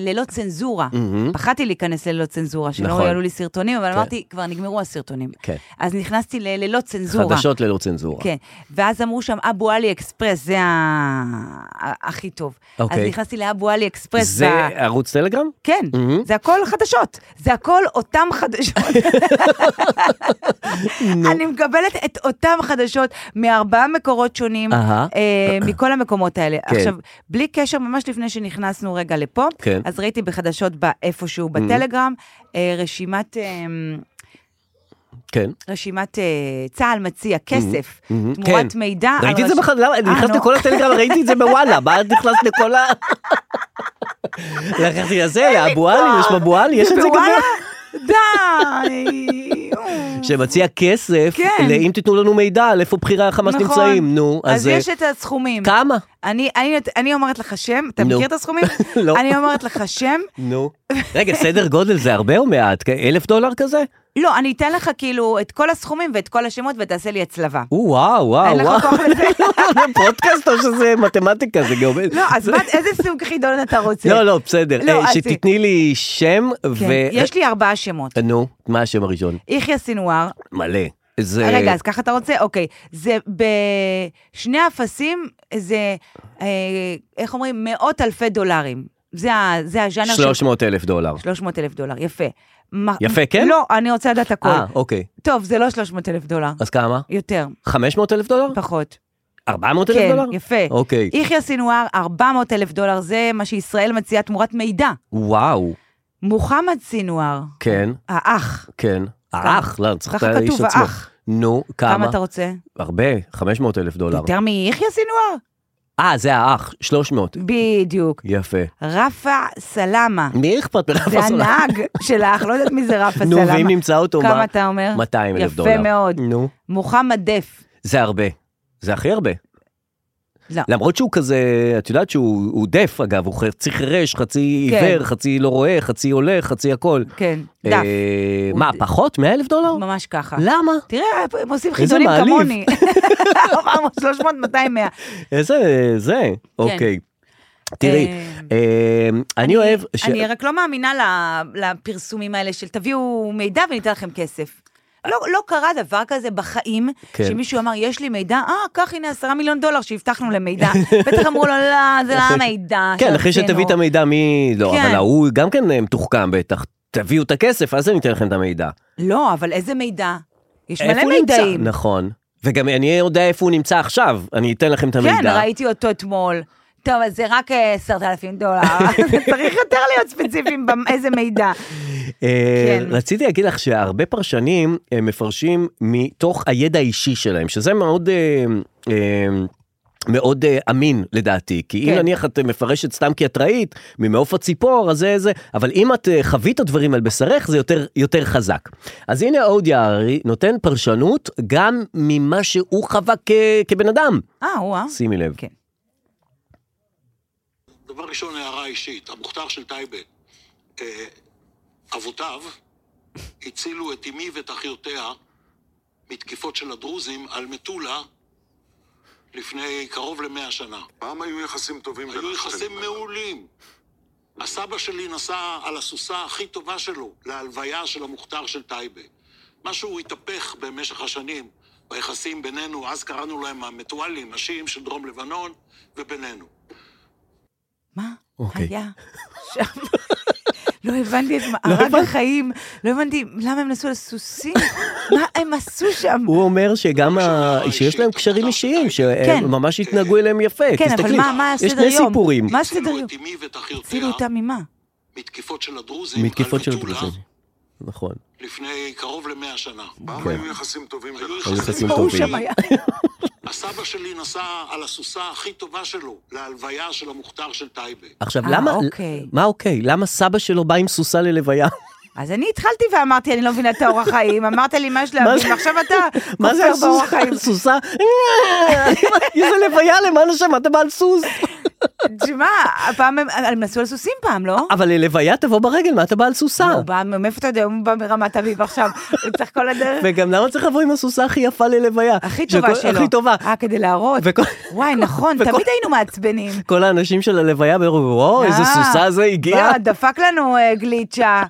ללא צנזורה. מהמם. פחדתי להיכנס לללא צנזורה, שלא Hmm? נכון. יעלו לי סרטונים, אבל כן. אמרתי, כבר נגמרו הסרטונים. כן. אז נכנסתי לללא צנזורה. חדשות ללא צנזורה. כן, ואז אמרו שם אבו עלי אקספרס, זה ה... ה- הכי טוב. אז אוקיי. נכנסתי לאבו עלי אקספרס. זה ב- ערוץ טלגרם? כן, מהמם. זה הכל חדשות, זה הכל אותם חדשות. אני מקבלת את אותם חדשות מארבעה מקורות שונים, אהה. אה, מכל המקומות האלה. כן. עכשיו, בלי קשר, ממש לפני שנכנסנו רגע לפה, כן. Mm-hmm. אז ראיתי בחדשות ב- איפשהו בטלגרם, אה, רשימת... אה, כן. רשימת אה, צה"ל מציע כסף, מהמם. תמורת Mm-hmm. כן. מידע. על ראיתי את זה רש- בכלל, למה? אני אה, נכנס נו. לכל הטלגרם, ראיתי את זה בוואלה, מה את נכנסת לכל [LAUGHS] ה... לקחתי לזה, לאבו עלי, יש באבו עלי, יש את זה גם... בוואלה? ב- די. שמציע כסף, כן. לאם תיתנו לנו מידע על איפה בכירי החמאס נכון. נמצאים, נו, אז אז יש אה, את הסכומים. כמה? אני, אני, אני אומרת לך שם, אתה נו. מכיר את הסכומים? [LAUGHS] לא. אני אומרת לך שם, נו. [LAUGHS] רגע, סדר גודל זה הרבה או מעט? כ- אלף דולר כזה? לא, אני אתן לך כאילו את כל הסכומים ואת כל השמות ותעשה לי הצלבה. או, וואו, וואו, אין לך וואו. כוח [LAUGHS] לזה. זה פודקאסט או שזה מתמטיקה, זה גם... לא, אז מה, איזה סוג חידון אתה רוצה? לא, לא, בסדר. לא, אה, אז- שתתני לי שם ו... כן, יש לי ארבעה שמות. נו, מה השם הראשון? יחיא סינואר, מלא. זה... אה, רגע, אז ככה אתה רוצה? אוקיי. זה בשני אפסים, זה, אה, איך אומרים? מאות אלפי דולרים. זה ה- זה הז'אנר של... 300 אלף דולר. 300 אלף דולר, יפה. מה- יפה, כן? לא, אני רוצה לדעת הכל. אה, אוקיי. טוב, זה לא 300 אלף דולר. אז כמה? יותר, 500 אלף דולר? פחות. 400 אלף כן, דולר? יפה. אה, אוקיי. יחיא סינואר, 400 אלף דולר, זה מה שישראל מציעה תמורת מידע. וואו. מוחמד סינואר, כן, האח, כן. האח, לא, צריך את ככה האיש כתוב, עצמו. האח. נו, כמה כמה? לא, אתה רוצה? הרבה, 500 אלף דולר. יותר מיחיא סינואר? אה, זה האח, 300. בדיוק. יפה. רפע [LAUGHS] סלמה, מי אכפת מרף זה הסולר? הנהג של האח, לא יודעת מי זה [LAUGHS] רפע נו, סלמה. ואם נמצא אותו, מה? כמה אתה אומר? 200 אלף יפה דולר. מאוד. נו. מוחמד דף, זה הרבה. זה הכי הרבה. לא. למרות שהוא כזה, את יודעת שהוא הוא דף אגב, הוא חצי חירש, חצי כן. עיוור, חצי לא רואה, חצי הולך, חצי הכל. כן, דף, אה, הוא מה, ד- פחות? 100 אלף דולר? ממש ככה. למה? תראה, הם עושים איזה חידונים מעליב. כמוני. [LAUGHS] 400, 300, 200, 100. איזה, זה, אוקיי. תראי, כן. אה, אה, אני אוהב... ש- אני רק לא מאמינה ל- לפרסומים האלה של תביאו מידע וניתן לכם כסף. לא, לא קרה דבר כזה בחיים, כן. כן. שמישהו אמר, יש לי מידע, אה, קח הנה עשרה מיליון דולר שהבטחנו [LAUGHS] למידע. בטח אמרו לו, לא, זה לא המידע כן, אחרי שרצינו." שתביא את המידע מי... לא, כן. אבל ההוא גם כן אה, מתוחכם בטח. תביאו את הכסף, אז אני אתן לכם את המידע. לא, אבל איזה מידע? יש איפה מלא הוא נמצא? מידעים. נכון. וגם אני יודע איפה הוא נמצא עכשיו, אני אתן לכם את נכון, המידע. כן, ראיתי אותו אתמול. טוב, אז זה רק אה, עשרת אלפים דולר, [LAUGHS] צריך יותר להיות ספציפיים באיזה מידע. אה, כן. רציתי להגיד לך שהרבה פרשנים אה, מפרשים מתוך הידע האישי שלהם, שזה מאוד... אה, אה, מאוד אה, אמין לדעתי, כי אם כן. נניח את אה, מפרשת סתם כי את ראית, ממעוף הציפור, אז זה זה, אבל אם את אה, חווית דברים על בשרך, זה יותר, יותר חזק. אז הנה אודי הררי נותן פרשנות גם ממה שהוא חווה כ, כבן אדם. אה, וואה. שימי לב. כן. דבר ראשון, הערה אישית. המוכתר של טייבה, אה, אבותיו הצילו את אמי ואת אחיותיה מתקיפות של הדרוזים על מטולה לפני קרוב למאה שנה. פעם היו יחסים טובים בין היו יחסים השכנים. מעולים. הסבא שלי נסע על הסוסה הכי טובה שלו להלוויה של המוכתר של טייבה. משהו התהפך במשך השנים ביחסים בינינו, אז קראנו להם המטואלים, השיעים של דרום לבנון, ובינינו. מה אוקיי. היה שם? לא הבנתי את מה, הרג החיים, לא הבנתי למה הם [LAUGHS] נסעו לסוסים, מה הם עשו שם? הוא אומר שגם ה... אישית, שיש להם קשרים אישיים, כן. שהם ממש התנהגו אליהם יפה. כן, אבל אוקיי, תסתכלי, מה- מה יש הסדר שני יום? סיפורים. מה הסדר הצילו יום? את אמי ואת אחיותיה הצילו אותם ממה? מתקיפות של הדרוזים מתקיפות על של מטולה הדרוזים. נכון. לפני קרוב למאה שנה. פעם היו יחסים טובים בין היו השכנים. יחסים מה הוא טובים. שם היה? הסבא שלי נסע על הסוסה הכי טובה שלו להלוויה של המוכתר של טייבה. עכשיו, אה, למה... אוקיי. מה אוקיי? למה סבא שלו בא עם סוסה ללוויה? אז אני התחלתי ואמרתי, אני לא מבינה את האורח חיים, אמרת לי מה יש להבין, ועכשיו אתה מה זה אוקיי, כופר באורח הסוסה? חיים. הסוסה? איזה לוויה, למען השם, אתה בא על סוס? תשמע, הפעם הם הם נסעו על סוסים פעם, לא? אבל ללוויה תבוא ברגל, מה אתה בא על סוסה? הוא בא, מאיפה אתה יודע, הוא בא מרמת אביב עכשיו, הוא צריך כל הדרך. וגם למה צריך לבוא עם הסוסה הכי יפה ללוויה? הכי טובה שכל- שלו. הכי טובה. אה, כדי להראות. וכל- וואי, נכון, וכל- תמיד היינו מעצבנים. כל האנשים של הלוויה אמרו, וואו, איזה אה, סוסה זה הגיע. וואו, דפק לנו אה, גליצ'ה.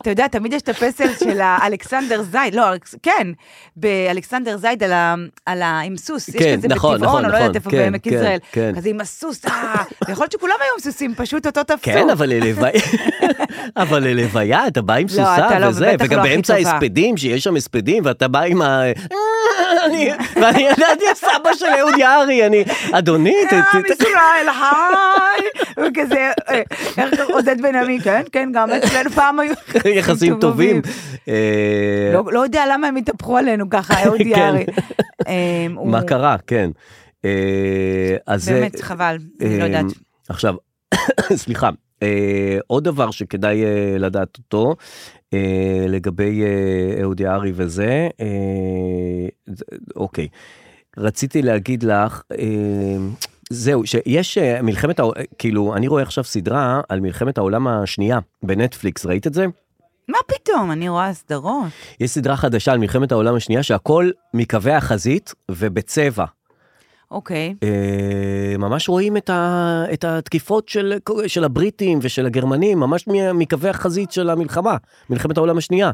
אתה יודע, תמיד יש את הפסל של האלכסנדר זייד, לא, אלכס- כן, באלכסנדר זייד על ה... על ה... עם סוס, יש כן, כזה נכון, בטבעון, נכון, או לא יודעת נכון, איפה כן, בעמק כן, ישראל, כן. כזה עם הסוס, אה, ויכול להיות שכולם היו עם סוסים, פשוט אותו תפסו. כן, אבל [LAUGHS] ללוויה, אבל ללוויה, אתה בא עם לא, סוסה אתה לא, וזה, ובטח וגם לא הכי באמצע טובה. ההספדים, שיש שם הספדים, ואתה בא עם ה... [LAUGHS] אני- ואני ידעתי, הסבא של אהוד יערי, אני, אדוני, ת- עם ת- ת- ישראל, אה, היי! וכזה, אה, איך קוראים? עודד בן עמי, כן, כן, גם אצלנו פעם היו יחסים טובים. אה, לא לא יודע למה הם התהפכו [LAUGHS] עלינו ככה, אהוד כן. יערי. אה, הוא- מה קרה, כן. אה, אז זה- באמת, חבל, אני לא אה, יודעת. עכשיו, [COUGHS] סליחה, אה, עוד דבר שכדאי אה, לדעת אותו, אה, לגבי אה, אהוד יערי וזה, אה, זה- אוקיי. רציתי להגיד לך, אה, זהו, שיש אה, מלחמת, העו- אה, כאילו, אני רואה עכשיו סדרה על מלחמת העולם השנייה בנטפליקס, ראית את זה? מה פתאום, אני רואה סדרות. יש סדרה חדשה על מלחמת העולם השנייה שהכל מקווי החזית ובצבע. אוקיי. אה, ממש רואים את, ה, את התקיפות של, של הבריטים ושל הגרמנים, ממש מ- מקווי החזית של המלחמה, מלחמת העולם השנייה.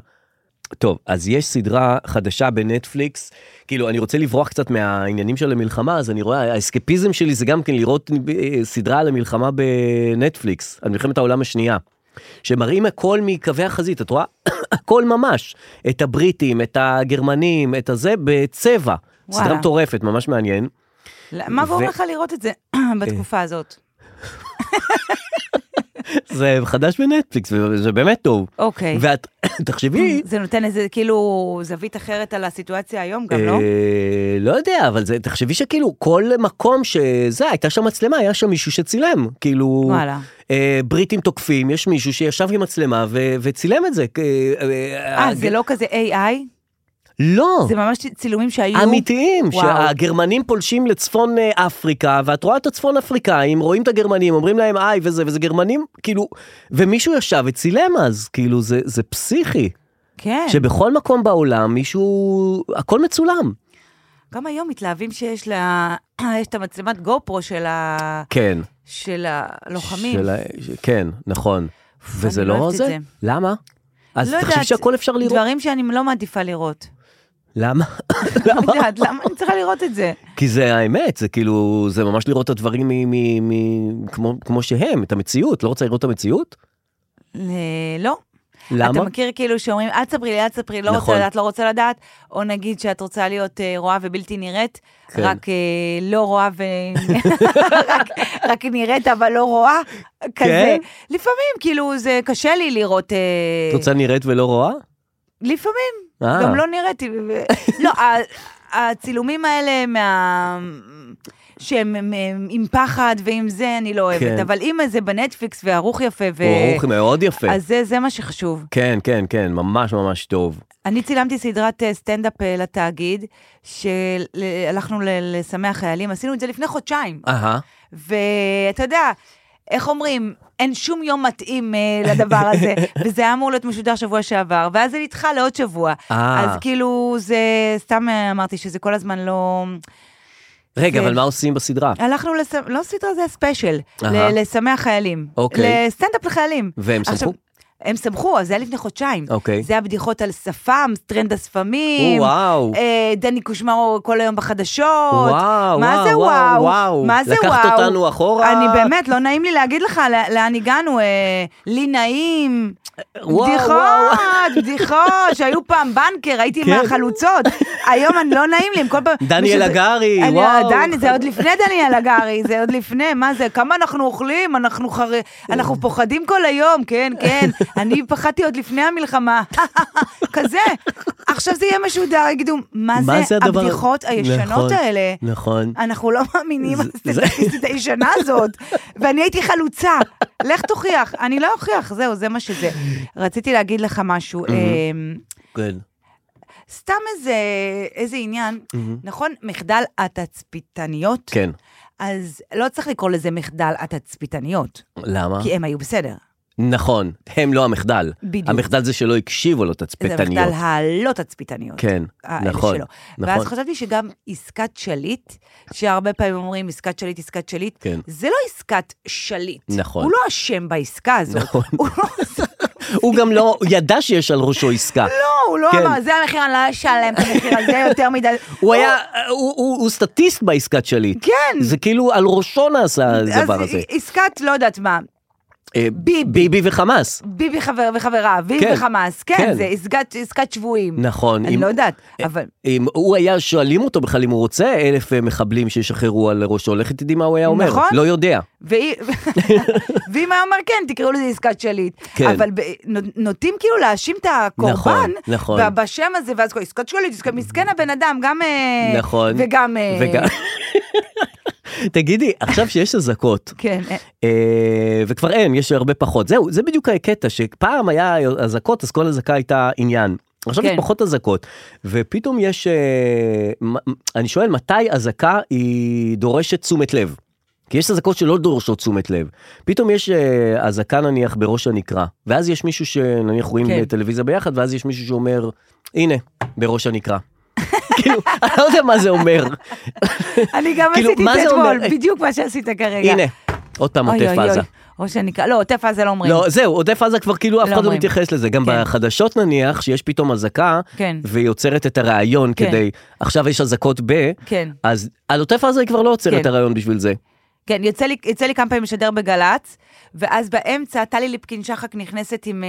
טוב, אז יש סדרה חדשה בנטפליקס, כאילו, אני רוצה לברוח קצת מהעניינים של המלחמה, אז אני רואה, האסקפיזם שלי זה גם כן לראות אה, סדרה על המלחמה בנטפליקס, על מלחמת העולם השנייה. שמראים הכל מקווי החזית, את רואה? [COUGHS] הכל ממש. את הבריטים, את הגרמנים, את הזה, בצבע. סדרה וואלה. מטורפת, ממש מעניין. ל- מה גורם ו- אה, לך לראות את זה [CLEARS THROAT] בתקופה הזאת? זה חדש בנטפליקס, וזה באמת טוב. אוקיי. ואת, [COUGHS] תחשבי, זה נותן איזה כאילו זווית אחרת על הסיטואציה היום גם, לא? אה, לא יודע, אבל זה, תחשבי שכאילו כל מקום שזה, הייתה שם מצלמה, היה שם מישהו שצילם, כאילו... וואלה. אה, בריטים תוקפים, יש מישהו שישב עם מצלמה ו- וצילם את זה. אה, אה, זה לא כזה AI? לא. זה ממש צילומים שהיו... אמיתיים, וואו. שהגרמנים פולשים לצפון אה, אפריקה, ואת רואה את הצפון אפריקאים, רואים את הגרמנים, אומרים להם איי וזה, וזה גרמנים, כאילו, ומישהו ישב וצילם אז, כאילו, זה, זה פסיכי. כן. שבכל מקום בעולם מישהו, הכל מצולם. גם היום מתלהבים שיש לה... [CLEARS THROAT] יש את המצלמת גו פרו של ה... כן. של הלוחמים. של ה- ש- כן, נכון. וזה אני לא לא אוהבת את זה? זה. למה? אז לא תחשבי יודעת, שהכל אפשר לראות. דברים שאני לא מעדיפה [LAUGHS] לראות. למה? לא יודעת, למה אני צריכה לראות את זה? [COUGHS] כי זה האמת, זה כאילו, זה ממש לראות את הדברים מ- מ- מ- כמו- כמו שהם, את המציאות. לא רוצה לראות את המציאות? אה, לא. למה? אתה מכיר כאילו שאומרים, אל תספרי לי, אל תספרי, לא נכון. רוצה לדעת, לא רוצה לדעת, או נגיד שאת רוצה להיות אה, רואה ובלתי נראית, כן. רק אה, לא רואה ו... [LAUGHS] רק- רק נראית אבל לא רואה, כזה. כן? לפעמים, כאילו, זה קשה לי לראות... אה, את רוצה נראית ולא רואה? לפעמים, אה. גם לא נראיתי. ו- לא, ה- הצילומים האלה מה... שהם הם- הם עם פחד ועם זה, אני לא אוהבת. כן. אבל אם זה בנטפליקס וערוך יפה, ו... הוא ערוך מאוד יפה. אז זה- זה מה שחשוב. כן, כן, כן, ממש ממש טוב. אני צילמתי סדרת אה, סטנדאפ אה, לתאגיד, שהלכנו ל- לשמח חיילים, עשינו את זה לפני חודשיים. אהה. ואתה יודע, איך אומרים, אין שום יום מתאים אה, לדבר [LAUGHS] הזה, וזה היה אמור להיות משודר שבוע שעבר, ואז זה נדחה לעוד שבוע. אה. אז כאילו, זה, סתם אה, אמרתי שזה כל הזמן לא... רגע, זה- אבל מה עושים בסדרה? הלכנו לס... לא סדרה, זה ספיישל, אהה. ל- לשמח חיילים. אוקיי. לסטנדאפ לחיילים. והם עכשיו, שמחו? הם שמחו, אז זה היה לפני חודשיים. אוקיי. זה היה בדיחות על שפם, טרנד השפמים. או, וואו. אה, דני קושמרו כל היום בחדשות. וואו, מה וואו, זה וואו, וואו? וואו. מה זה וואו? לקחת אותנו אחורה. אני באמת, לא נעים לי להגיד לך ל- לאן הגענו. אה, לי נעים. אה, וואו, [LAUGHS] בדיחות, בדיחות, שהיו פעם בנקר, הייתי כן. מהחלוצות. היום אני לא נעים לי, הם כל פעם... דניאל מישהו- הגרי, אני- וואו. דני, זה עוד לפני דניאל הגרי, זה עוד לפני, מה זה, כמה אנחנו אוכלים, אנחנו חר... אנחנו פוחדים כל היום, כן, כן. אני פחדתי עוד לפני המלחמה. [LAUGHS] כזה. עכשיו זה יהיה משודר, יגידו, מה מה זה הדבר- הבדיחות הישנות נכון, האלה? נכון. אנחנו לא מאמינים זה- לסטטיסטית הישנה הזאת, ואני הייתי חלוצה. לך תוכיח. אני לא אוכיח, זהו, זה מה שזה. רציתי להגיד לך משהו. אמ, כן. סתם איזה, איזה עניין, מהמם. נכון, מחדל התצפיתניות? כן. אז לא צריך לקרוא לזה מחדל התצפיתניות. למה? כי הם היו בסדר. נכון, הם לא המחדל. בדיוק. המחדל זה שלא הקשיבו לו זה תצפיתניות. המחדל הלא תצפיתניות. כן, האלה נכון, שלו. ואז נכון. חשבתי שגם עסקת שליט, שהרבה פעמים אומרים עסקת שליט, עסקת שליט, כן. זה לא עסקת שליט. נכון. הוא לא אשם בעסקה הזאת. נכון. הוא לא הוא גם לא ידע שיש על ראשו עסקה. לא, הוא לא כן. אמר, זה המחיר, אני לא אשלם את המחיר הזה יותר מדי. [LAUGHS] הוא היה, הוא- הוא הוא סטטיסט בעסקת שליט. כן. זה כאילו על ראשו נעשה הדבר הזה. אז עסקת, לא יודעת מה, אה, ביבי. ביבי וחמאס. ביבי חבר וחבריו, ביבי כן, וחמאס, כן, כן. זה עסקת- עסקת שבויים. נכון. אני אם- לא יודעת, אבל... אם הוא היה, שואלים אותו בכלל אם הוא רוצה אלף אה, מחבלים שישחררו על ראשו, לך תדעי מה הוא היה אומר. נכון. לא יודע. [LAUGHS] ואי- ואם היה אומר כן, תקראו לזה עסקת שליט. כן. אבל ב- נו- נוטים כאילו להאשים את הקורבן נכון, נכון. ב- בשם הזה, ואז כל- עסקת שליט, עסקת מסכן הבן אדם, גם... אה, נכון. וגם... אה, וגם- [LAUGHS] תגידי, עכשיו שיש אזעקות, כן, אה, אה, וכבר אין, יש הרבה פחות. זהו, זה בדיוק הקטע, שפעם היה אזעקות, אז כל אזעקה הייתה עניין. עכשיו כן. יש פחות אזעקות, ופתאום יש... אה, מ- אני שואל, מתי אזעקה היא דורשת תשומת לב? כי יש אזעקות שלא דורשות תשומת לב. פתאום יש אה, אזעקה נניח בראש הנקרה, ואז יש מישהו שנניח רואים כן. כן. טלוויזיה ביחד, ואז יש מישהו שאומר, הנה, בראש הנקרה. [LAUGHS] כאילו, אני לא יודע מה זה אומר. אני גם [LAUGHS] כאילו, עשיתי מה את זה זה אומר? אתמול, בדיוק מה שעשית כרגע. הנה, עוד פעם אוי, עוטף אוי, עזה. אוי. או שנקרא, לא, עוטף עזה לא אומרים. לא, זהו, עוטף עזה כבר כאילו אף לא אחד לא אומרים. מתייחס לזה. גם כן. בחדשות נניח, שיש פתאום אזעקה, כן. והיא עוצרת את הרעיון כן. כדי, עכשיו יש אזעקות ב, כן. אז על עוטף עזה היא כבר לא עוצרת כן. את הרעיון בשביל זה. כן, יוצא לי, יוצא לי כמה פעמים לשדר בגל"צ, ואז באמצע טלי ליפקין שחק נכנסת עם... אה,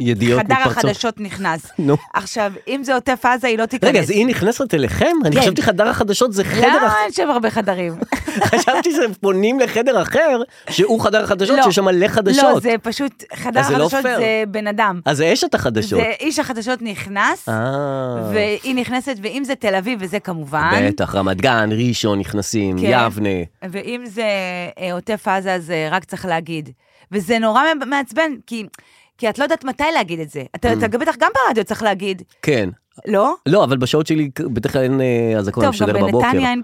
ידיעות חדר מפרצות. החדשות נכנס. נו. עכשיו, אם זה עוטף עזה, היא לא תיכנס. רגע, אז היא נכנסת אליכם? אני כן. חשבתי חדר החדשות זה חדר לא, אחר. אין שם הרבה חדרים. [LAUGHS] חשבתי שהם פונים לחדר אחר, שהוא חדר החדשות, לא. שיש שם מלא לא, חדשות. זה פשוט, חדר אז זה לא החדשות פייר. זה בן אדם. אז זה אשת החדשות. זה איש החדשות נכנס, אה, והיא נכנסת, ואם זה תל אביב, וזה כמובן. בטח, רמת גן, ראשון נכנסים, כן. יבנה. ואם זה אה, עוטף עזה, אז אה, רק צריך להגיד. וזה נורא מעצבן, כי... כי את לא יודעת מתי להגיד את זה. Mm. אתה, אתה בטח גם ברדיו צריך להגיד, כן. לא? לא, אבל בשעות שלי בדרך כלל אין אה, אזעקות, אני טוב, גם משדר בבוקר. בנתניה אין,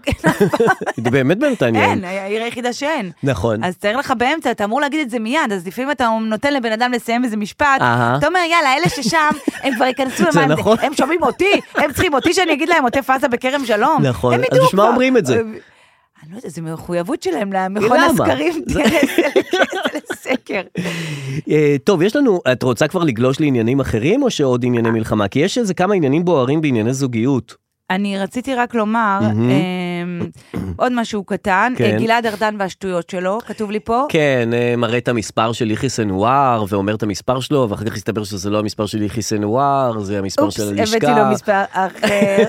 באמת בנתניה [LAUGHS] אין, העיר היחידה שאין. נכון. אז תאר לך באמצע, אתה אמור להגיד את זה מיד, אז לפעמים אתה נותן לבן אדם לסיים איזה משפט, אהה. אתה אומר, יאללה, אלה ששם, הם כבר ייכנסו [LAUGHS] זה למה, נכון. הם שומעים אותי, הם צריכים אותי שאני אגיד להם עוטף עזה בכרם שלום. נכון. הם אז ידעו בשביל מה כבר. אומרים את זה? אה, אני לא יודעת, זו מחויבות שלהם למכון למה? הסקרים, זה- תראה, זה לסקר. אה, טוב, יש לנו, את רוצה כבר לגלוש לעניינים אחרים או שעוד ענייני מלחמה? כי יש איזה כמה עניינים בוערים בענייני זוגיות. אני רציתי רק לומר, מהמם. אה, עוד משהו קטן, כן. אה, גלעד ארדן והשטויות שלו, כתוב לי פה, כן, אה, מראה את המספר של יחיא סנוואר ואומר את המספר שלו, ואחר כך הסתבר שזה לא המספר של יחיא סנוואר, זה המספר אופס, של הבאתי לו הלשכה, מספר [LAUGHS] אחר.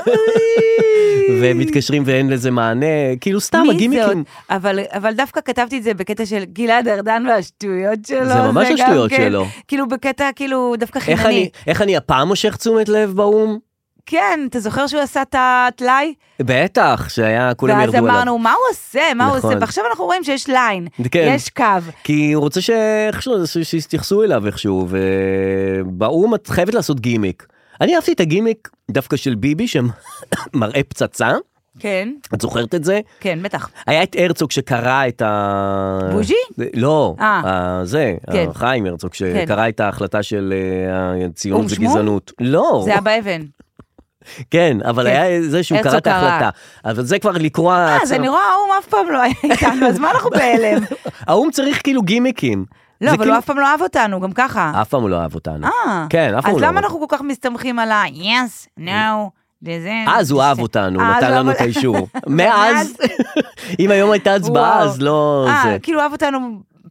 והם מתקשרים ואין לזה מענה, כאילו סתם מי זאת? הגימיקים. אבל, אבל דווקא כתבתי את זה בקטע של גלעד ארדן והשטויות שלו. זה ממש גם השטויות כן, שלו. כאילו בקטע כאילו דווקא איך חינני. אני, איך אני הפעם מושך תשומת לב באו"ם? כן, אתה זוכר שהוא עשה את הטלאי? בטח, שהיה, כולם ואז ירדו עליו. אמרנו, מה הוא עושה? מה הוא נכון. עושה? ועכשיו אנחנו רואים שיש ליין, כן. יש קו. כי הוא רוצה שאיכשהו, ש- שיתייחסו אליו איכשהו, ובאו"ם את חייבת לעשות גימיק. אני אהבתי את הגימיק דווקא של ביבי שמראה פצצה, כן, את זוכרת את זה? כן, בטח. היה את הרצוג שקרא את ה... בוז'י? לא, אה. ה- זה, כן. חיים הרצוג שקרא את ההחלטה של אה, אום הציונות זה שמום? גזענות. לא, זה היה באבן. כן, אבל כן. היה זה שהוא הרצוג קרא את קרא. ההחלטה. אבל זה כבר לקרוא... אה, זה נראה האו"ם אף פעם לא היה איתנו, אז מה [LAUGHS] אנחנו בהלם? האו"ם צריך כאילו גימיקים. לא, זה אבל כאילו- הוא אף פעם לא אהב אותנו, גם ככה. אף פעם הוא לא אהב אותנו. אה. כן, אף פעם הוא אז לא אהב למה אנחנו כל כך מסתמכים על ה-yes, no, זה... אז הוא אהב אותנו, כן. אה, אז נתן הוא לנו אהב- את [LAUGHS] האישור. מאז, אם היום הייתה הצבעה, וואו. אז לא זה. אה, כאילו אהב אותנו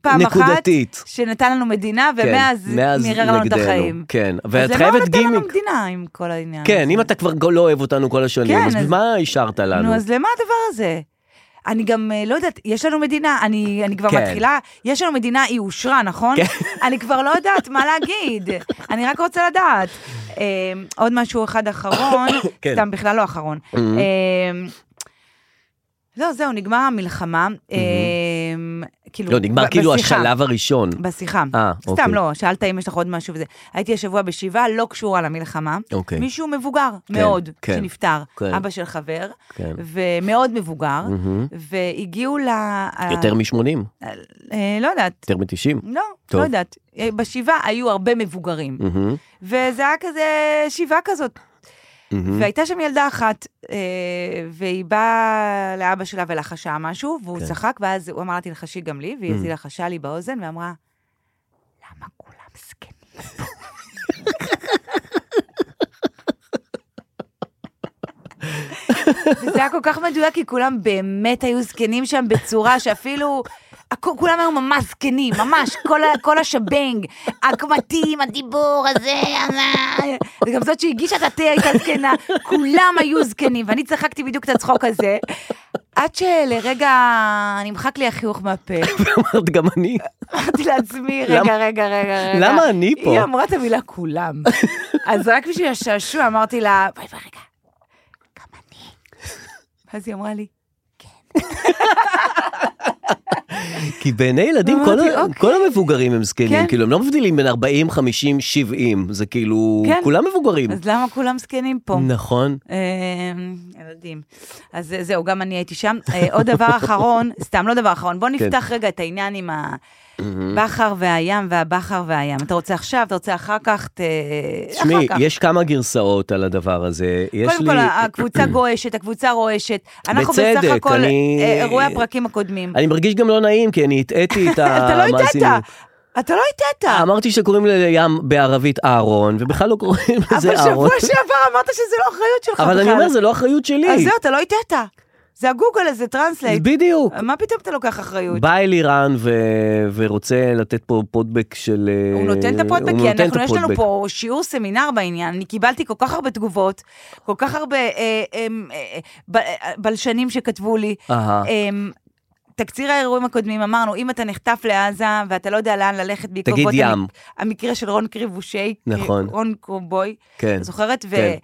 פעם אחת. נקודתית. שנתן לנו מדינה, ומאז מירר לנו את נגדנו, החיים. כן, אז ואת למה הוא חייבת נתן לנו גימיק. מדינה עם כל העניין? כן, הזה? אם אתה כבר לא אוהב אותנו כל השנים, כן, אז אז- מה השארת לנו? נו, אז למה הדבר הזה? אני גם אה, לא יודעת, יש לנו מדינה, אני, אני כבר כן. מתחילה, יש לנו מדינה, היא אושרה, נכון? אני כבר לא יודעת מה [LAUGHS] להגיד, אני רק רוצה לדעת. אה, עוד משהו אחד אחרון, [COUGHS] כן. סתם בכלל לא אחרון. אה, לא, זהו, נגמר המלחמה. אה, כאילו, Mm-hmm. לא, נגמר ב- כאילו בשיחה. השלב הראשון. בשיחה. אה, אוקיי. סתם לא, שאלת אם יש לך עוד משהו וזה. הייתי השבוע בשבעה, לא קשורה למלחמה. אוקיי. מישהו מבוגר כן, מאוד, כן. שנפטר. כן. אבא של חבר, כן. ומאוד מבוגר, מהמם. והגיעו ל... יותר מ-80, אה, לא יודעת. יותר מ-90. לא, טוב. לא יודעת. אה, בשבעה היו הרבה מבוגרים. וזה היה כזה שבעה כזאת. והייתה שם ילדה אחת, אה, והיא באה לאבא שלה ולחשה משהו, והוא כן. צחק, ואז הוא אמר לה, תלחשי גם לי, והיא Mm. אז היא לחשה לי באוזן, ואמרה, למה כולם זקנים פה?" וזה היה כל כך מדויק, כי כולם באמת היו זקנים שם בצורה שאפילו... הכ- כולם היו ממש זקנים, ממש, כל, ה- כל השבנג, הקמטים, הדיבור הזה, הזה. וגם זאת שהגישה את התה הייתה זקנה, כולם היו זקנים, ואני צחקתי בדיוק את הצחוק הזה, עד שלרגע נמחק לי החיוך מהפה. אמרת גם אני. אמרתי לעצמי, רגע, למה- רגע, רגע, רגע. למה אני פה? היא אמרה את המילה כולם. אז רק בשביל השעשוע אמרתי לה, בואי, בואי, רגע, גם אני. אז היא אמרה לי, כי בעיני ילדים כל אמרתי, ה- אוקיי. כל המבוגרים הם זקנים, כן. כאילו הם לא מבדילים בין 40, 50, 70, זה כאילו, כן. כולם מבוגרים. אז לא. למה כולם זקנים פה? נכון. אמ, ילדים. אז זה- זהו, גם אני הייתי שם. אה, עוד דבר אחרון, [LAUGHS] סתם לא דבר אחרון, כן. בוא נפתח רגע את העניין עם הבכר והים והבכר והים. אתה רוצה עכשיו, אתה רוצה אחר כך, ת... אחר תשמעי, כך. יש כמה גרסאות על הדבר הזה. יש קודם לי... כל, הקבוצה גועשת, הקבוצה רועשת. אנחנו בצדק, בסך הכל אני- אה, אירועי הפרקים הקודמים. אני מרגיש גם לא נעים, כי אני הטעיתי את [LAUGHS] אתה לא המאזינים. הטעת, אתה לא הטעת. אה, אמרתי שקוראים לים בערבית אהרון, ובכלל לא קוראים לזה אבל אהרון. שבוע שעבר אמרת שזה לא אחריות שלך בכלל. אבל אני אומר, זה לא אחריות שלי. אז זהו, אתה לא הטעת. זה הגוגל הזה, טרנסלייט. בדיוק. מה פתאום אתה לוקח אחריות? בא אלירן ו... ורוצה לתת פה פודבק של... אה, הוא נותן את הפודבק, הוא כי נותן את אנחנו, יש לנו הפודבק. פה שיעור סמינר בעניין. אני קיבלתי כל כך הרבה תגובות, כל כך הרבה אה, אה, אה, ב- אה, בלשנים שכתבו לי. אהה. אה, תקציר האירועים הקודמים, אמרנו, אם אתה נחטף לעזה ואתה לא יודע לאן ללכת בעקבות תגיד המק- ים. המקרה של רון קריבושי, נכון. רון קרובוי, כן. זוכרת? כן.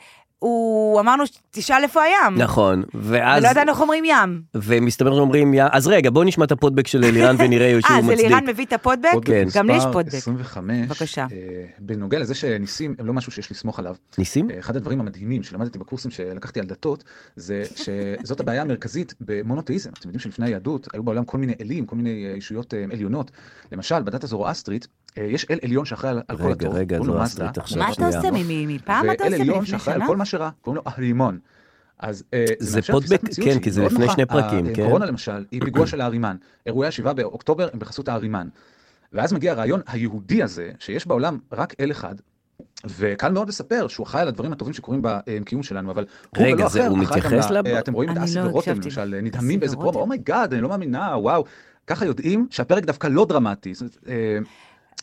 והוא, אמרנו, תשאל איפה הים. נכון, ואז... ולא לא ידענו איך אומרים ים. ומסתבר שאומרים, "יא-" אז רגע, בואו נשמע את הפודבק של אלירן ונראה שהוא אה, אז מצדיק. אלירן מביא את הפודבק? פודבק גם לי יש מספר פודבק. 25. בבקשה. אה, בנוגע לזה שניסים הם לא משהו שיש לסמוך עליו. ניסים? אה, אחד הדברים המדהימים שלמדתי בקורסים שלקחתי על דתות, זה שזאת הבעיה המרכזית במונותאיזם. אתם יודעים שלפני היהדות היו בעולם כל מיני אלים, כל מיני אה, ישויות אה, עליונות. למשל, בדת הזורואסטרית, אה, יש אל עליון שאחראי על על כל רגע, הטוב. רגע, קוראים לו זורואסטרית מאזדה. עכשיו, מה אתה עושה? מ- מ- מפעם אתה ואל עושה? עליון מלפני שאחראי שנה? על כל מה שרע, קוראים לו אהרימון. אז אה, זה מאפשר פודבק- תפיסת מציאות כן, שהיא כי זה מאוד לפני נוחה. שני פרקים, ה- כן. הקורונה למשל, היא פיגוע של הארימן. אירועי השבעה באוקטובר הם בחסות הארימן. ואז מגיע הרעיון היהודי הזה, שיש בעולם רק אל אחד, וקל מאוד לספר שהוא אחראי על הדברים הטובים שקורים בקיום שלנו, אבל הוא רגע, ולא זה- אחר, הוא אחראי גם מתייחס ל- לב- אה, אתם רואים את אני אסי לא ורותם הקשבתי. למשל, אסי נדהמים באיזה ורותם. פרומו, אומייגאד, אני לא מאמינה, וואו. ככה יודעים שהפרק דווקא לא דרמטי. זאת אומרת, אה,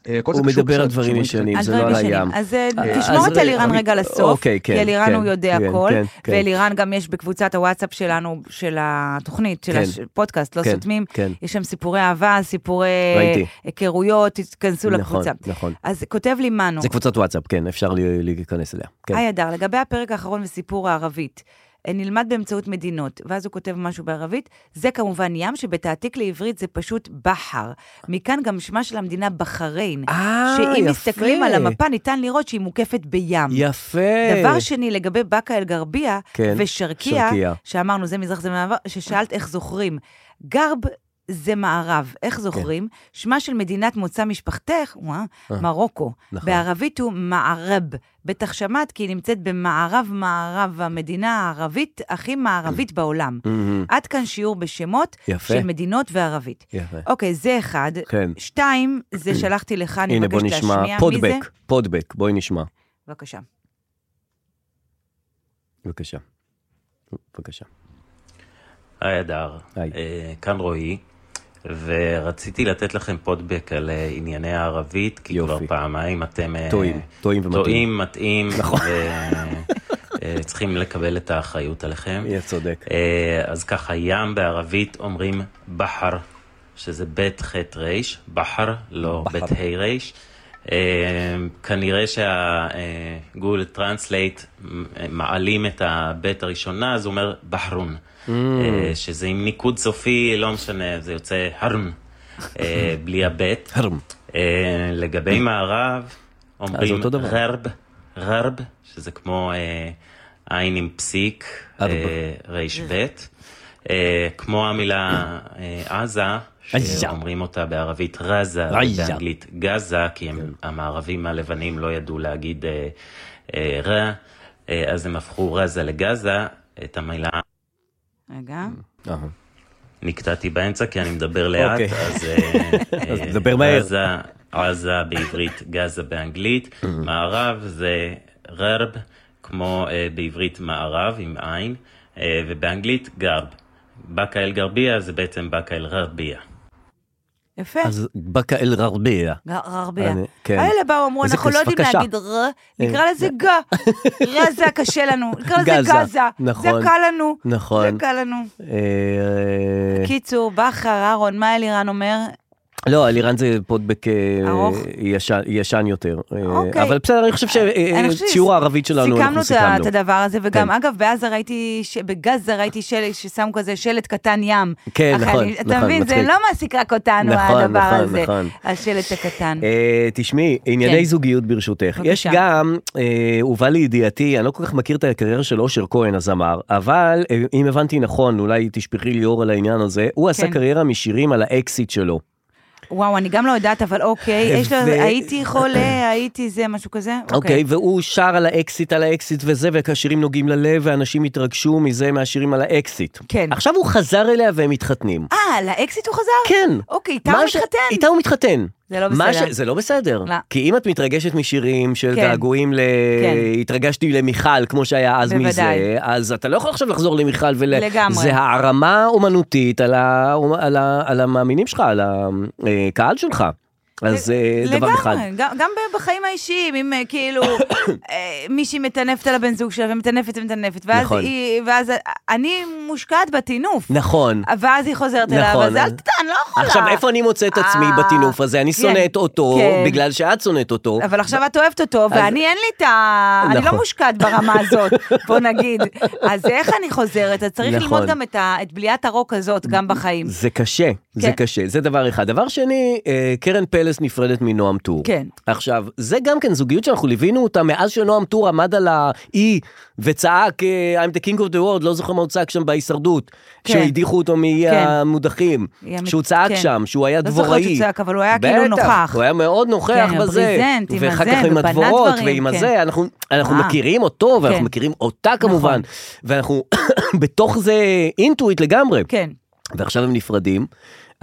אה, כל זה הוא קשור מדבר על כשאומרים דברים כזה- ישנים, זה לא על הים. אז אה, אה, תשמור אז את אלירן רגע, רגע לסוף, אוקיי, כן, כי אלירן כן, הוא יודע כן, הכל, כן, כן. ואלירן גם יש בקבוצת הוואטסאפ שלנו, של התוכנית, של כן. הפודקאסט, לא כן, סותמים, כן. יש שם סיפורי אהבה, סיפורי ראיתי. היכרויות, תיכנסו נכון, לקבוצה. נכון. אז כותב לי מנו, זה קבוצת וואטסאפ, כן, אפשר לי- להיכנס אליה. כן. היי הדר, לגבי הפרק האחרון וסיפור הערבית. אה, נלמד באמצעות מדינות, ואז הוא כותב משהו בערבית, זה כמובן ים שבתעתיק לעברית זה פשוט בחר. מכאן גם שמה של המדינה בחריין, שאם אה, יפה. מסתכלים על המפה ניתן לראות שהיא מוקפת בים. יפה. דבר שני, לגבי באקה אל-גרבייה כן, ושרקייה, שרקייה. שאמרנו זה מזרח זה מערב, ששאלת איך זוכרים. גרב זה מערב, איך כן. זוכרים? שמה של מדינת מוצא משפחתך, וואה, אה, מרוקו. נכון. בערבית הוא מערב. בטח שמעת כי היא נמצאת במערב-מערב, המדינה הערבית הכי מערבית בעולם. מהמם. עד כאן שיעור בשמות Mm. Mm-hmm. יפה. של מדינות וערבית. יפה. אוקיי, זה אחד. כן. שתיים, זה שלחתי לך, אני הנה, בוא מבקשת להשמיע. נשמע. מי זה? פודבק, פודבק, בואי נשמע. בבקשה. בבקשה. בבקשה. היי הדר, אה, כאן רועי, ורציתי לתת לכם פודבק על אה, ענייני הערבית, כי כבר פעמיים אתם... אה, טועים, טועים ומטעים. טועים, מטעים, נכון. ו- אה, צריכים לקבל את האחריות עליכם. אה, יהיה צודק. אז ככה, ים בערבית אומרים בחר, שזה בית ח' ר', בחר, לא בחר. בית ה' ר'. אה, כנראה שהגול טרנסלייט מעלים את הבית הראשונה, אז הוא אומר בחרון. Mm. אה, שזה עם ניקוד סופי, לא משנה, זה יוצא הרן. [LAUGHS] אה, בלי הבט. אה, לגבי מערב, Mm. אז אומרים אותו דבר. רב, רב, שזה כמו אה, עין עם פסיק, ארב. אה, ריש בית. אה, כמו המילה אה, עזה, שאומרים אותה בערבית רזה, עזה. ובאנגלית גזה, כי הם- כן. המערבים הלבנים לא ידעו להגיד אה, אה, רע, אה, אז הם הפכו רזה לגזה, את המילה רגע. Mm. אה, אה, נקטעתי באמצע כי אני מדבר לאט, אוקיי. אז... אה, אז אה, דבר מהר. עזה, עזה בעברית, גזה באנגלית, מערב זה ררב, כמו אה, בעברית מערב עם עין, אה, ובאנגלית גרב. באקה אל גרבייה זה בעצם באקה אל ררבייה. יפה. אז באקה אל ררביע. ררביה. אני- כן. האלה באו, אמרו, איזה אנחנו לא יודעים שפה קשה. להגיד ר, נקרא לזה ג. ר זה קשה לנו, נקרא לזה גזה, גזה. נכון. זה קל לנו. נכון. זה קל לנו. אה, קיצור, בכר, אהרון, מה אלירן אומר? לא, אלירן זה פודבק אה, ארוך? ישן- ישן יותר. אה, אוקיי. אבל בסדר, אני חושב אה, אני חושבת ששיעור הערבית שלנו, אנחנו סיכמנו את ה- סיכמנו. את הדבר הזה, וגם, כן. אגב, בעזה ראיתי, ש- בגזה ראיתי שלט ששמו כזה שלט קטן ים. כן, החיילים- נכון, נכון, אתה מבין, זה מצחיק. לא מעסיק רק אותנו, נכון, הדבר נכון, הזה. נכון. השלט הקטן. אה, תשמעי, ענייני כן. זוגיות ברשותך. בבקשה. יש גם, אה, הובא לידיעתי, אני לא כל כך מכיר את הקריירה של אושר כהן הזמר, אבל אה, אם הבנתי נכון, אולי תשפכי לי אור על העניין הזה, הוא עשה כן. קריירה משירים על האקסיט שלו. וואו, אני גם לא יודעת, אבל אוקיי, יש לו, ו- הייתי חולה, הייתי זה, משהו כזה. אוקיי, והוא שר על האקסיט, על האקסיט וזה, והשירים נוגעים ללב, ואנשים התרגשו מזה, מהשירים על האקסיט. כן. עכשיו הוא חזר אליה והם מתחתנים. אה, לאקזיט הוא חזר? כן. אוקיי, איתה הוא מה ש- מתחתן? איתה הוא מתחתן. זה לא מה בסדר. ש- זה לא בסדר. לא. כי אם את מתרגשת משירים של כן. געגועים ל... כן. התרגשתי למיכל, כמו שהיה אז בוודאי. מזה, אז אתה לא יכול עכשיו לחזור למיכל ול... לגמרי. זה הערמה אומנותית על, ה... על, ה... על המאמינים שלך, על הקהל שלך. אז אה, דבר אחד. לגמרי, גם- גם ב- בחיים האישיים, אם אה, כאילו [COUGHS] אה, מישהי מטנפת על הבן זוג שלה ומטנפת ומטנפת, ואז נכון. היא, ואז אה, אני מושקעת בטינוף, נכון. ואז היא חוזרת אליו, נכון. אז אל תדע, אני לא יכולה. עכשיו, איפה אני מוצא את עצמי אה, בטינוף הזה? אני שונא כן, את אותו, כן. בגלל שאת שונאת אותו. אבל עכשיו את אוהבת אותו, לא- אז- ואני אין לי את ה... אני לא נכון. מושקעת ברמה הזאת, בוא נגיד. אז איך אני חוזרת? אז צריך נכון. ללמוד גם את ה- את בליית הרוק הזאת גם בחיים. זה קשה, זה כן. קשה, זה דבר אחד. דבר שני, אה, קרן פלס נפרדת מנועם טור. כן. עכשיו, זה גם כן זוגיות שאנחנו ליווינו אותה מאז שנועם טור עמד על האי וצעק, אה, I'm the king of the world, לא זוכר מה הוא צעק שם בהישרדות. כן. כשהדיחו אותו כן. מהמודחים. היא המ- שהוא צעק כן. שם, שהוא היה לא זוכרת דבוראי. שהוא צעק, אבל הוא היה כאילו בטח, נוכח. הוא היה מאוד נוכח כן, בזה. הפרזנט, עם ואחר הזה, כך עם ובנה הדבורות דברים, ועם כן. הזה, אנחנו, אנחנו אה. מכירים אותו, ואנחנו כן. נכון. מכירים אותה כמובן. ואנחנו [COUGHS] בתוך זה אינטואיט לגמרי. כן. ועכשיו הם נפרדים.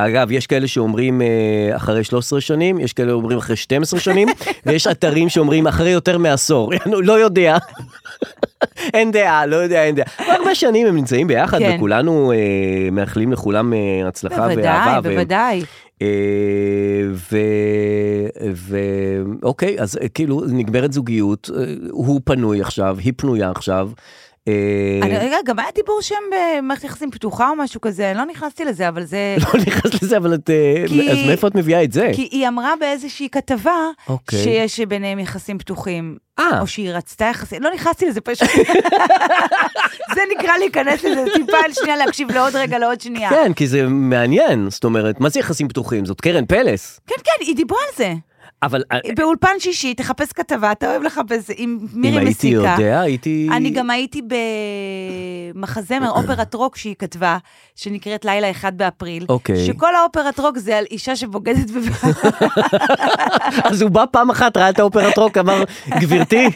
אגב, יש כאלה שאומרים אה, אחרי 13 שנים, יש כאלה שאומרים אחרי 12 [LAUGHS] שנים, ויש אתרים שאומרים אחרי יותר מעשור. [LAUGHS] אני לא יודע. אין דעה, לא יודע, אין דעה. אבל הרבה שנים הם נמצאים ביחד, כן. וכולנו אה, מאחלים לכולם אה, הצלחה בוודאי, ואהבה. ו- בוודאי. אה, ו... ו... אוקיי, אז אה, כאילו נגמרת זוגיות, אה, הוא פנוי עכשיו, היא פנויה עכשיו. אה, אני- רגע, גם היה דיבור שם במערכת יחסים פתוחה או משהו כזה, אני לא נכנסתי לזה, אבל זה... [LAUGHS] לא נכנס לזה, אבל את... אה, כי- אז מאיפה את מביאה את זה? כי היא אמרה באיזושהי כתבה, אוקיי. שיש ביניהם יחסים פתוחים. אה. או שהיא רצתה יחסים, לא נכנסתי לזה פשוט. [LAUGHS] זה נקרא להיכנס לזה, טיפה על שנייה להקשיב לעוד רגע, לעוד שנייה. כן, כי זה מעניין, זאת אומרת, מה זה יחסים פתוחים? זאת קרן פלס. כן, כן, היא דיברה על זה. אבל אה, באולפן שישי, תחפש כתבה, אתה אוהב לחפש, עם מירי אם הייתי מסיקה. יודע, הייתי... אני גם הייתי במחזמר אוקיי. אופרת רוק שהיא כתבה, שנקראת לילה 1 באפריל. אוקיי. שכל האופרת רוק זה על אישה שבוגדת [LAUGHS] בבעלה. אז הוא בא פעם אחת, ראה את האופרת רוק, אמר, [LAUGHS] גברתי.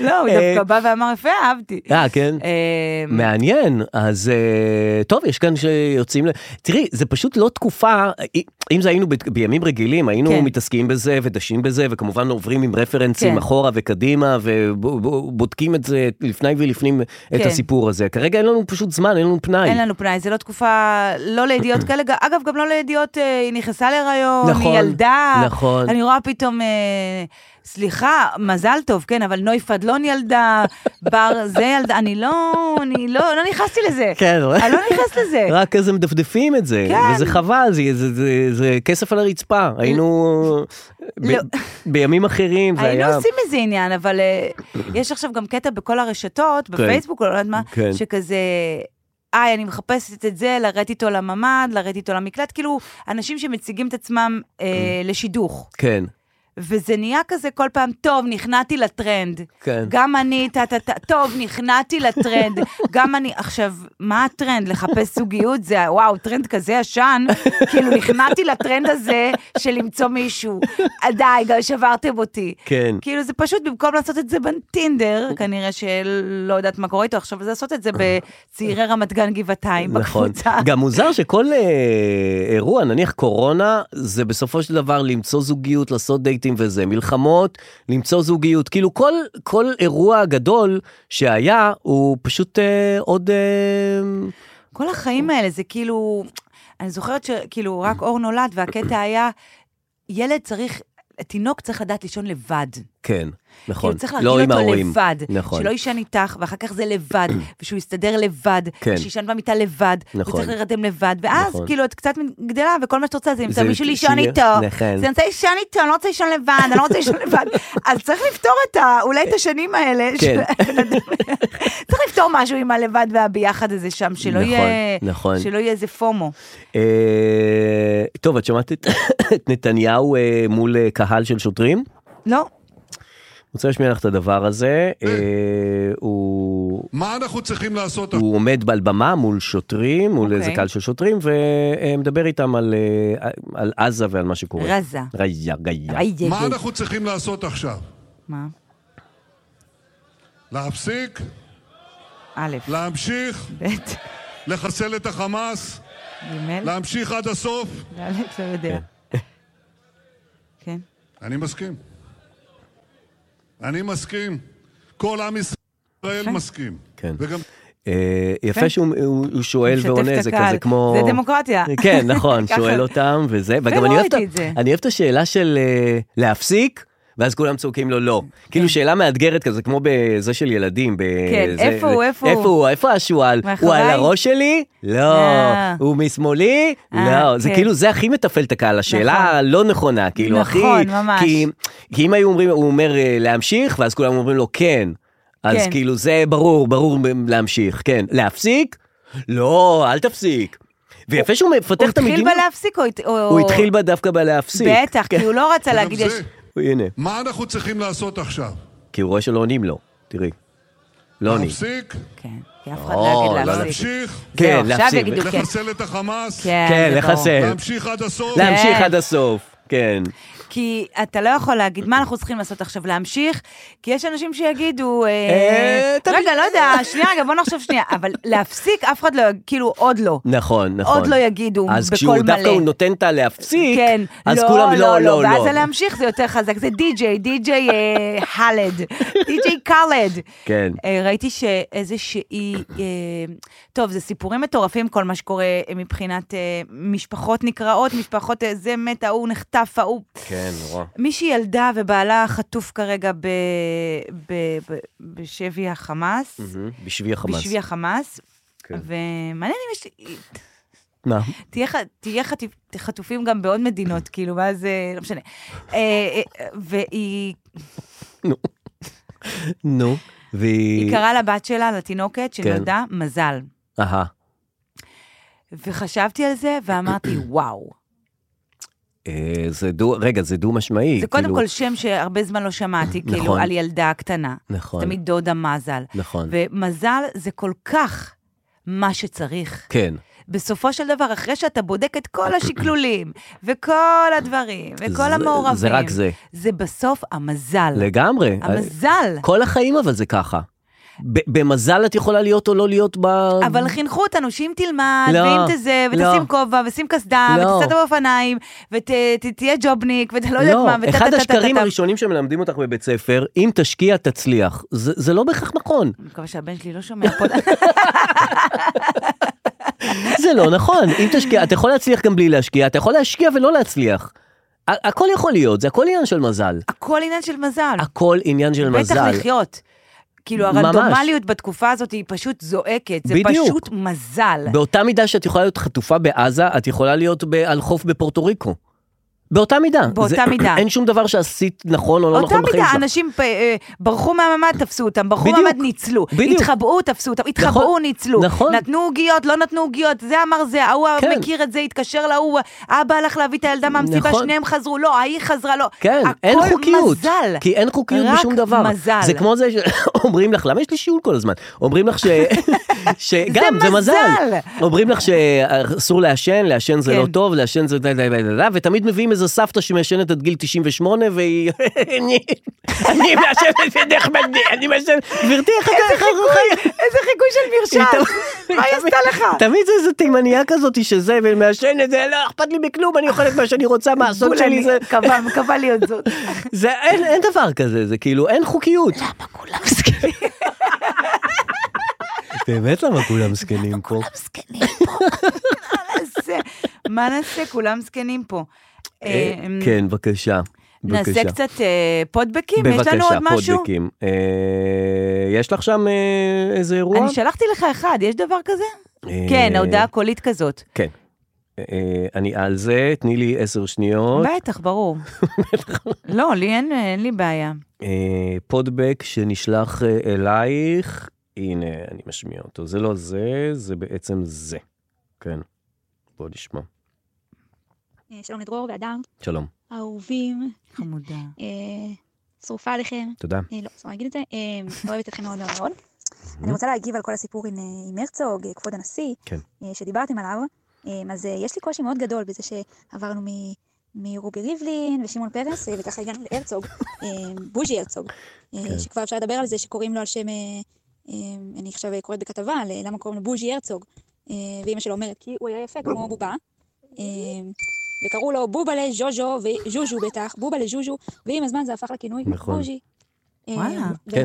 לא, הוא אה, דווקא בא ואמר, יפה, אהבתי. אה, כן? אמ- מעניין, אז אה, טוב, יש כאן שיוצאים, ל- תראי, זה פשוט לא תקופה, אי- אם זה היינו בת- בימים רגילים, היינו כן. מתעסקים בזה ודשים בזה, וכמובן עוברים עם רפרנסים כן. אחורה וקדימה, ובודקים את זה לפני ולפנים, את כן. הסיפור הזה. כרגע אין לנו פשוט זמן, אין לנו פנאי. אין לנו פנאי, זה לא תקופה, לא [CLEARS THROAT] לידיעות כאלה, ג- אגב, גם לא לידיעות, אה, היא נכנסה להיריון, נכון, היא ילדה, נכון. אני רואה פתאום, אה, סליחה, מזל טוב, כן, אבל נוי פדלון [LAUGHS] ילדה, בר זה ילדה, אני לא, אני לא, לא נכנסתי לזה. כן, אני לא נכנסת לזה. [LAUGHS] רק אז הם מדפדפים את זה, כן. וזה חבל, זה, זה, זה, זה כסף על הרצפה. היינו ב, לא. בימים אחרים, זה היינו היה... עושים מזה [CLEARS THROAT] עניין, אבל אה, יש עכשיו גם קטע בכל הרשתות, בפייסבוק, או לא יודעת מה, כן. שכזה... היי, אני מחפשת את זה, לרדת איתו לממ"ד, לרדת איתו למקלט, כאילו, אנשים שמציגים את עצמם אה, לשידוך. כן. וזה נהיה כזה כל פעם, טוב, נכנעתי לטרנד. כן. גם אני, טה-טה-טה, טוב, נכנעתי לטרנד. [LAUGHS] גם אני, עכשיו, מה הטרנד? לחפש זוגיות זה, וואו, טרנד כזה ישן, כאילו, נכנעתי לטרנד הזה של למצוא מישהו. אה, די, גם שברתם אותי. כן. כאילו, זה פשוט, במקום לעשות את זה בטינדר, כנראה שלא יודעת מה קורה איתו עכשיו, אז [LAUGHS] לעשות את זה בצעירי רמת גן גבעתיים, נכון. בקבוצה. גם מוזר שכל אה, אירוע, נניח קורונה, זה בסופו של דבר למצוא זוגיות, לעשות דייטים וזה, מלחמות, למצוא זוגיות. כאילו כל, כל אירוע גדול שהיה, הוא פשוט אה, עוד... אה, כל החיים האלה, זה כאילו... אני זוכרת שכאילו רק אור נולד, והקטע היה, ילד צריך, תינוק צריך לדעת לישון לבד. כן, נכון. כאילו צריך לא להרגיל עם אותו ההורים. לבד. נכון. שלא יישן איתך, ואחר כך זה [CLEARS THROAT] לבד, ושהוא יסתדר לבד, כן. ושישן במיטה לבד, נכון. וצריך להירדם לבד, ואז נכון. כאילו את קצת גדלה, וכל מה שאת רוצה זה למצוא זה מישהו לישון שיהיה- איתו. נכון. זה אני רוצה לישון איתו, אני לא רוצה לישון לבד, אני לא רוצה לישון [LAUGHS] לבד. אז צריך לפתור את ה... אולי את השנים האלה. ש- כן. [LAUGHS] צריך לפתור משהו עם הלבד והביחד הזה שם, שלא נכון, יהיה... נכון. שלא יהיה איזה פומו. אה, טוב, את שמעת את, את נתניהו אה, מול אה, קהל של שוטרים? לא. רוצה להשמיע לך את הדבר הזה. אה, הוא... מה אנחנו צריכים לעשות? הוא עומד על במה מול שוטרים, מול אוקיי. איזה קהל של שוטרים, ומדבר איתם על, אה, על עזה ועל מה שקורה. רזה. ריה, ריה. מה אנחנו צריכים לעשות עכשיו? מה? להפסיק? א'. לא- להמשיך? ב'. לחסל את החמאס? ג'. להמשיך עד הסוף? ד', לא יודע. כן. אני מסכים. אני מסכים. [LAUGHS] כל עם ישראל מסכים. כן. וגם אה, יפה כן. שהוא הוא- הוא שואל משתף את ועונה, זה הקהל. כזה כמו... זה דמוקרטיה. כן, [LAUGHS] נכון, ככה. שואל אותם וזה, לא וגם ולא אני אוהב את ה- ראיתי את זה. אני אוהב את השאלה של אה, להפסיק. ואז כולם צועקים לו לא. כאילו שאלה מאתגרת כזה, כמו בזה של ילדים. ב- כן, זה- איפה הוא, זה- איפה הוא? איפה הוא, איפה השועל? הוא מאחוריי? על הראש שלי? לא. אה. הוא משמאלי? אה, לא. זה כן. כאילו, זה הכי מתפעל את הקהל, השאלה הלא נכונה, כאילו, הכי... נכון, ממש. כי, כי אם היו אומרים, הוא אומר אה, להמשיך, ואז כולם אומרים לו כן. אז כן. כאילו זה ברור, ברור מ- להמשיך, כן. להפסיק? לא, אל תפסיק. ויפה שהוא הוא מפתח את התחיל המדיניות. בלהפסיק או... הת- או- הוא התחיל בה דווקא בלהפסיק. בטח, כן. כי הוא לא רצה להגיד... יש- הנה, מה אנחנו צריכים לעשות עכשיו? כי הוא רואה שלא עונים לו, תראי. לא עונים. להפסיק? כן, כי אף אחד לא יגיד להפסיק. להמשיך? כן, לא, זהו, עכשיו להפסיק. יגידו כן. לחסל את החמאס? כן, לחסל. להמשיך עד הסוף? להמשיך כן. עד הסוף, כן. כי אתה לא יכול להגיד מה אנחנו צריכים לעשות עכשיו, להמשיך, כי יש אנשים שיגידו, אה, אה, רגע, לא יודע, שנייה, רגע, בוא נחשוב שנייה, אבל להפסיק, אף אחד לא, יג- כאילו, עוד לא. נכון, נכון. עוד לא יגידו אז בקול כשהוא מלא. דווקא הוא נותן את הלהפסיק, כן, אז כולם לא, לא, ואז לא. הלהמשיך זה יותר חזק, זה די-ג'יי, די-ג'יי אה, חאלד, די-ג'יי קאלד. כן. אה, ראיתי שאיזושהי, אה, טוב, זה סיפורים מטורפים, כל מה שקורה אה, מבחינת אה, משפחות נקרעות, משפחות אה, זה מת, ההוא נחטף, ההוא. כן, נורא. מישהי ילדה ובעלה חטוף כרגע ב- ב- ב- בשבי החמאס. מהמם, בשבי החמאס. בשבי החמאס. כן. ומעניין אם יש... מה? תהיה, ח- תהיה חטיפ, חטופים גם בעוד מדינות, כאילו, ואז אה, לא משנה. אה, אה, אה, והיא נו, היא והיא... קראה לבת שלה, לתינוקת, כן. שנולדה, מזל. אהה. וחשבתי על זה, [CLEARS THROAT] ואמרתי, וואו. אה, זה דו... רגע, זה דו משמעי. זה קודם כאילו- כל שם שהרבה זמן לא [CLEARS THROAT] שמעתי, כאילו, נכון. על ילדה קטנה. נכון. תמיד דודה מזל. נכון. ומזל זה כל כך מה שצריך. כן. בסופו של דבר, אחרי שאתה בודק את כל [CLEARS THROAT] השקלולים, וכל הדברים, וכל זה- המעורבים, זה רק זה. זה בסוף המזל. לגמרי. אה, המזל. כל החיים אבל זה ככה. ב- במזל את יכולה להיות או לא להיות ב... אבל חינכו אותנו שאם תלמד, אוקיי. לא, ואם תזה, לא. ותשים כובע, ושים קסדה, לא. ותסע את האופניים, ותהיה ג'ובניק, ואתה לא יודעת לא, מה, ותה- תה- אחד תה- השקרים תה- תה- הראשונים שמלמדים אותך בבית ספר, אם תשקיע תצליח. זה זה לא בהכרח נכון. אני מקווה שהבן שלי לא שומע [LAUGHS] פה. זה לא נכון. אם תשקיע, אתה יכול להצליח גם בלי להשקיע, אתה יכול להשקיע ולא להצליח. ה- הכל יכול להיות, זה הכל עניין של מזל. הכל עניין של מזל. הכל עניין של מזל. בטח לחיות. כאילו ממש. הרנדומליות בתקופה הזאת היא פשוט זועקת, זה בדיוק. פשוט מזל. באותה מידה שאת יכולה להיות חטופה בעזה, את יכולה להיות ב- על חוף בפורטו ריקו. באותה מידה. באותה זה- מידה. אין שום דבר שעשית נכון או לא אותה נכון בחיים מידה, שלך. אנשים פ- אה, ברחו מהממ"ד, תפסו אותם, ברחו בדיוק. מהממ"ד, ניצלו, בדיוק. התחבאו, תפסו אותם, התחבאו, נכון. ניצלו, נכון. נתנו עוגיות, לא נתנו עוגיות, זה אמר זה, ההוא כן. מכיר את זה, התקשר להוא, אבא הלך להביא את הילדה מהמסיבה, נכון. שניהם חזרו, לא, ההיא חזרה, לא. כן, אין הכל חוקיות. מזל. כי אין חוקיות רק בשום דבר. מזל. זה כמו זה [LAUGHS] שאומרים לך, למה יש לי שיעול כל הזמן? אומרים [LAUGHS] לך ש... שגם, זה זה מזל. מזל. אומרים לך שאסור לעשן, לעשן זה כן. לא טוב, לעשן זה... די, די, די, די, די, ותמיד מביאים איזה סבתא שמעשנת עד גיל 98, והיא... [LAUGHS] אני- אני מעשנת בדרך מדי, אני מעשנת... גברתי, איך את... איך את- איזה חיקוי של היא מרשם, תמיד- מה היא עשתה [LAUGHS] לך? תמיד זה איזה תימניה כזאת שזה, ומעשנת, זה לא אכפת לי מכלום, אני אוכלת מה שאני רוצה, מה הסוד שלי זה... קבע- קבע לי עוד [LAUGHS] זאת. זה אין, אין דבר כזה, זה כאילו אין [LAUGHS] חוקיות. למה כולם זקנים? באמת למה כולם זקנים פה? [LAUGHS] נעשה? מה נעשה? כולם זקנים פה. אה, אה, כן, בבקשה. בבקשה. נעשה קצת אה, פודבקים? יש לנו עוד בבקשה, משהו? פודבקים. אה, יש לך שם אה, איזה אירוע? אני שלחתי לך אחד, יש דבר כזה? אה, כן, ההודעה קולית כזאת. כן. אה, אני על זה, תני לי עשר שניות. בטח, [LAUGHS] ברור. לא, לי אין, אין לי בעיה. אה, פודבק שנשלח אה, אלייך, הנה, אני משמיע אותו. זה לא זה, זה בעצם זה. כן, בוא נשמע. אה, שלום לדרור ואדם, שלום. אהובים. חמודה. שרופה עליכם. תודה. כן. אה, לא, אסור להגיד את זה. אה, אוהבת אתכם מאוד מאוד מאוד. אני רוצה להגיב על כל הסיפור עם, אה, עם הרצוג, אה, כבוד הנשיא, כן. אה, שדיברתם עליו. אה, אז אה, יש לי קושי מאוד גדול בזה שעברנו מ- מרובי ריבלין ושמעון פרס, אה, וככה הגענו להרצוג, אה, בוז'י הרצוג, אה, כן. שכבר אפשר לדבר על זה שקוראים לו על שם, אה, אה, אני עכשיו קוראת בכתבה, על, אה, למה קוראים לו בוז'י הרצוג, אה, ואימא שלו אומרת, כי הוא היה יפה כמו בובה. אמ, וקראו לו בובלה ז'וז'ו וז'וז'ו בטח, בובלה ז'וז'ו, ועם הזמן זה הפך לכינוי נכון. בוז'י. אמ, וואלה. ואני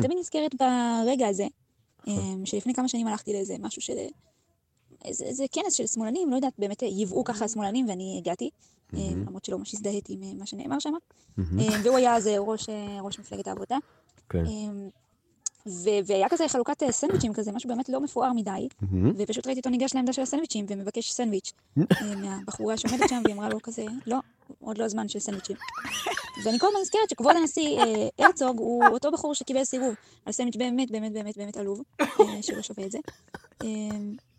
כן. תמיד נזכרת ברגע הזה, אמ, שלפני כמה שנים הלכתי לאיזה משהו של... איזה איזה כנס של שמאלנים, לא יודעת, באמת ייבאו ככה שמאלנים ואני הגעתי, אמ, למרות שלא ממש הזדהיתי עם אה, מה שנאמר שם. מהמם. אמ, והוא היה אז אה, ראש, אה, ראש מפלגת העבודה. כן. אמ, ו- והיה כזה חלוקת אה, סנדוויצ'ים כזה, משהו באמת לא מפואר מדי, מהמם. ופשוט ראיתי אותו ניגש לעמדה של הסנדוויצ'ים ומבקש סנדוויץ' אה, מהבחורה שעומדת שם, והיא אמרה לו כזה, לא, עוד לא הזמן של סנדוויצ'ים. ואני כל הזמן נזכרת שכבוד הנשיא אה, הרצוג הוא אותו בחור שקיבל סירוב על סנדוויץ' באמת באמת באמת באמת עלוב, אה, שלא שווה את זה. אה,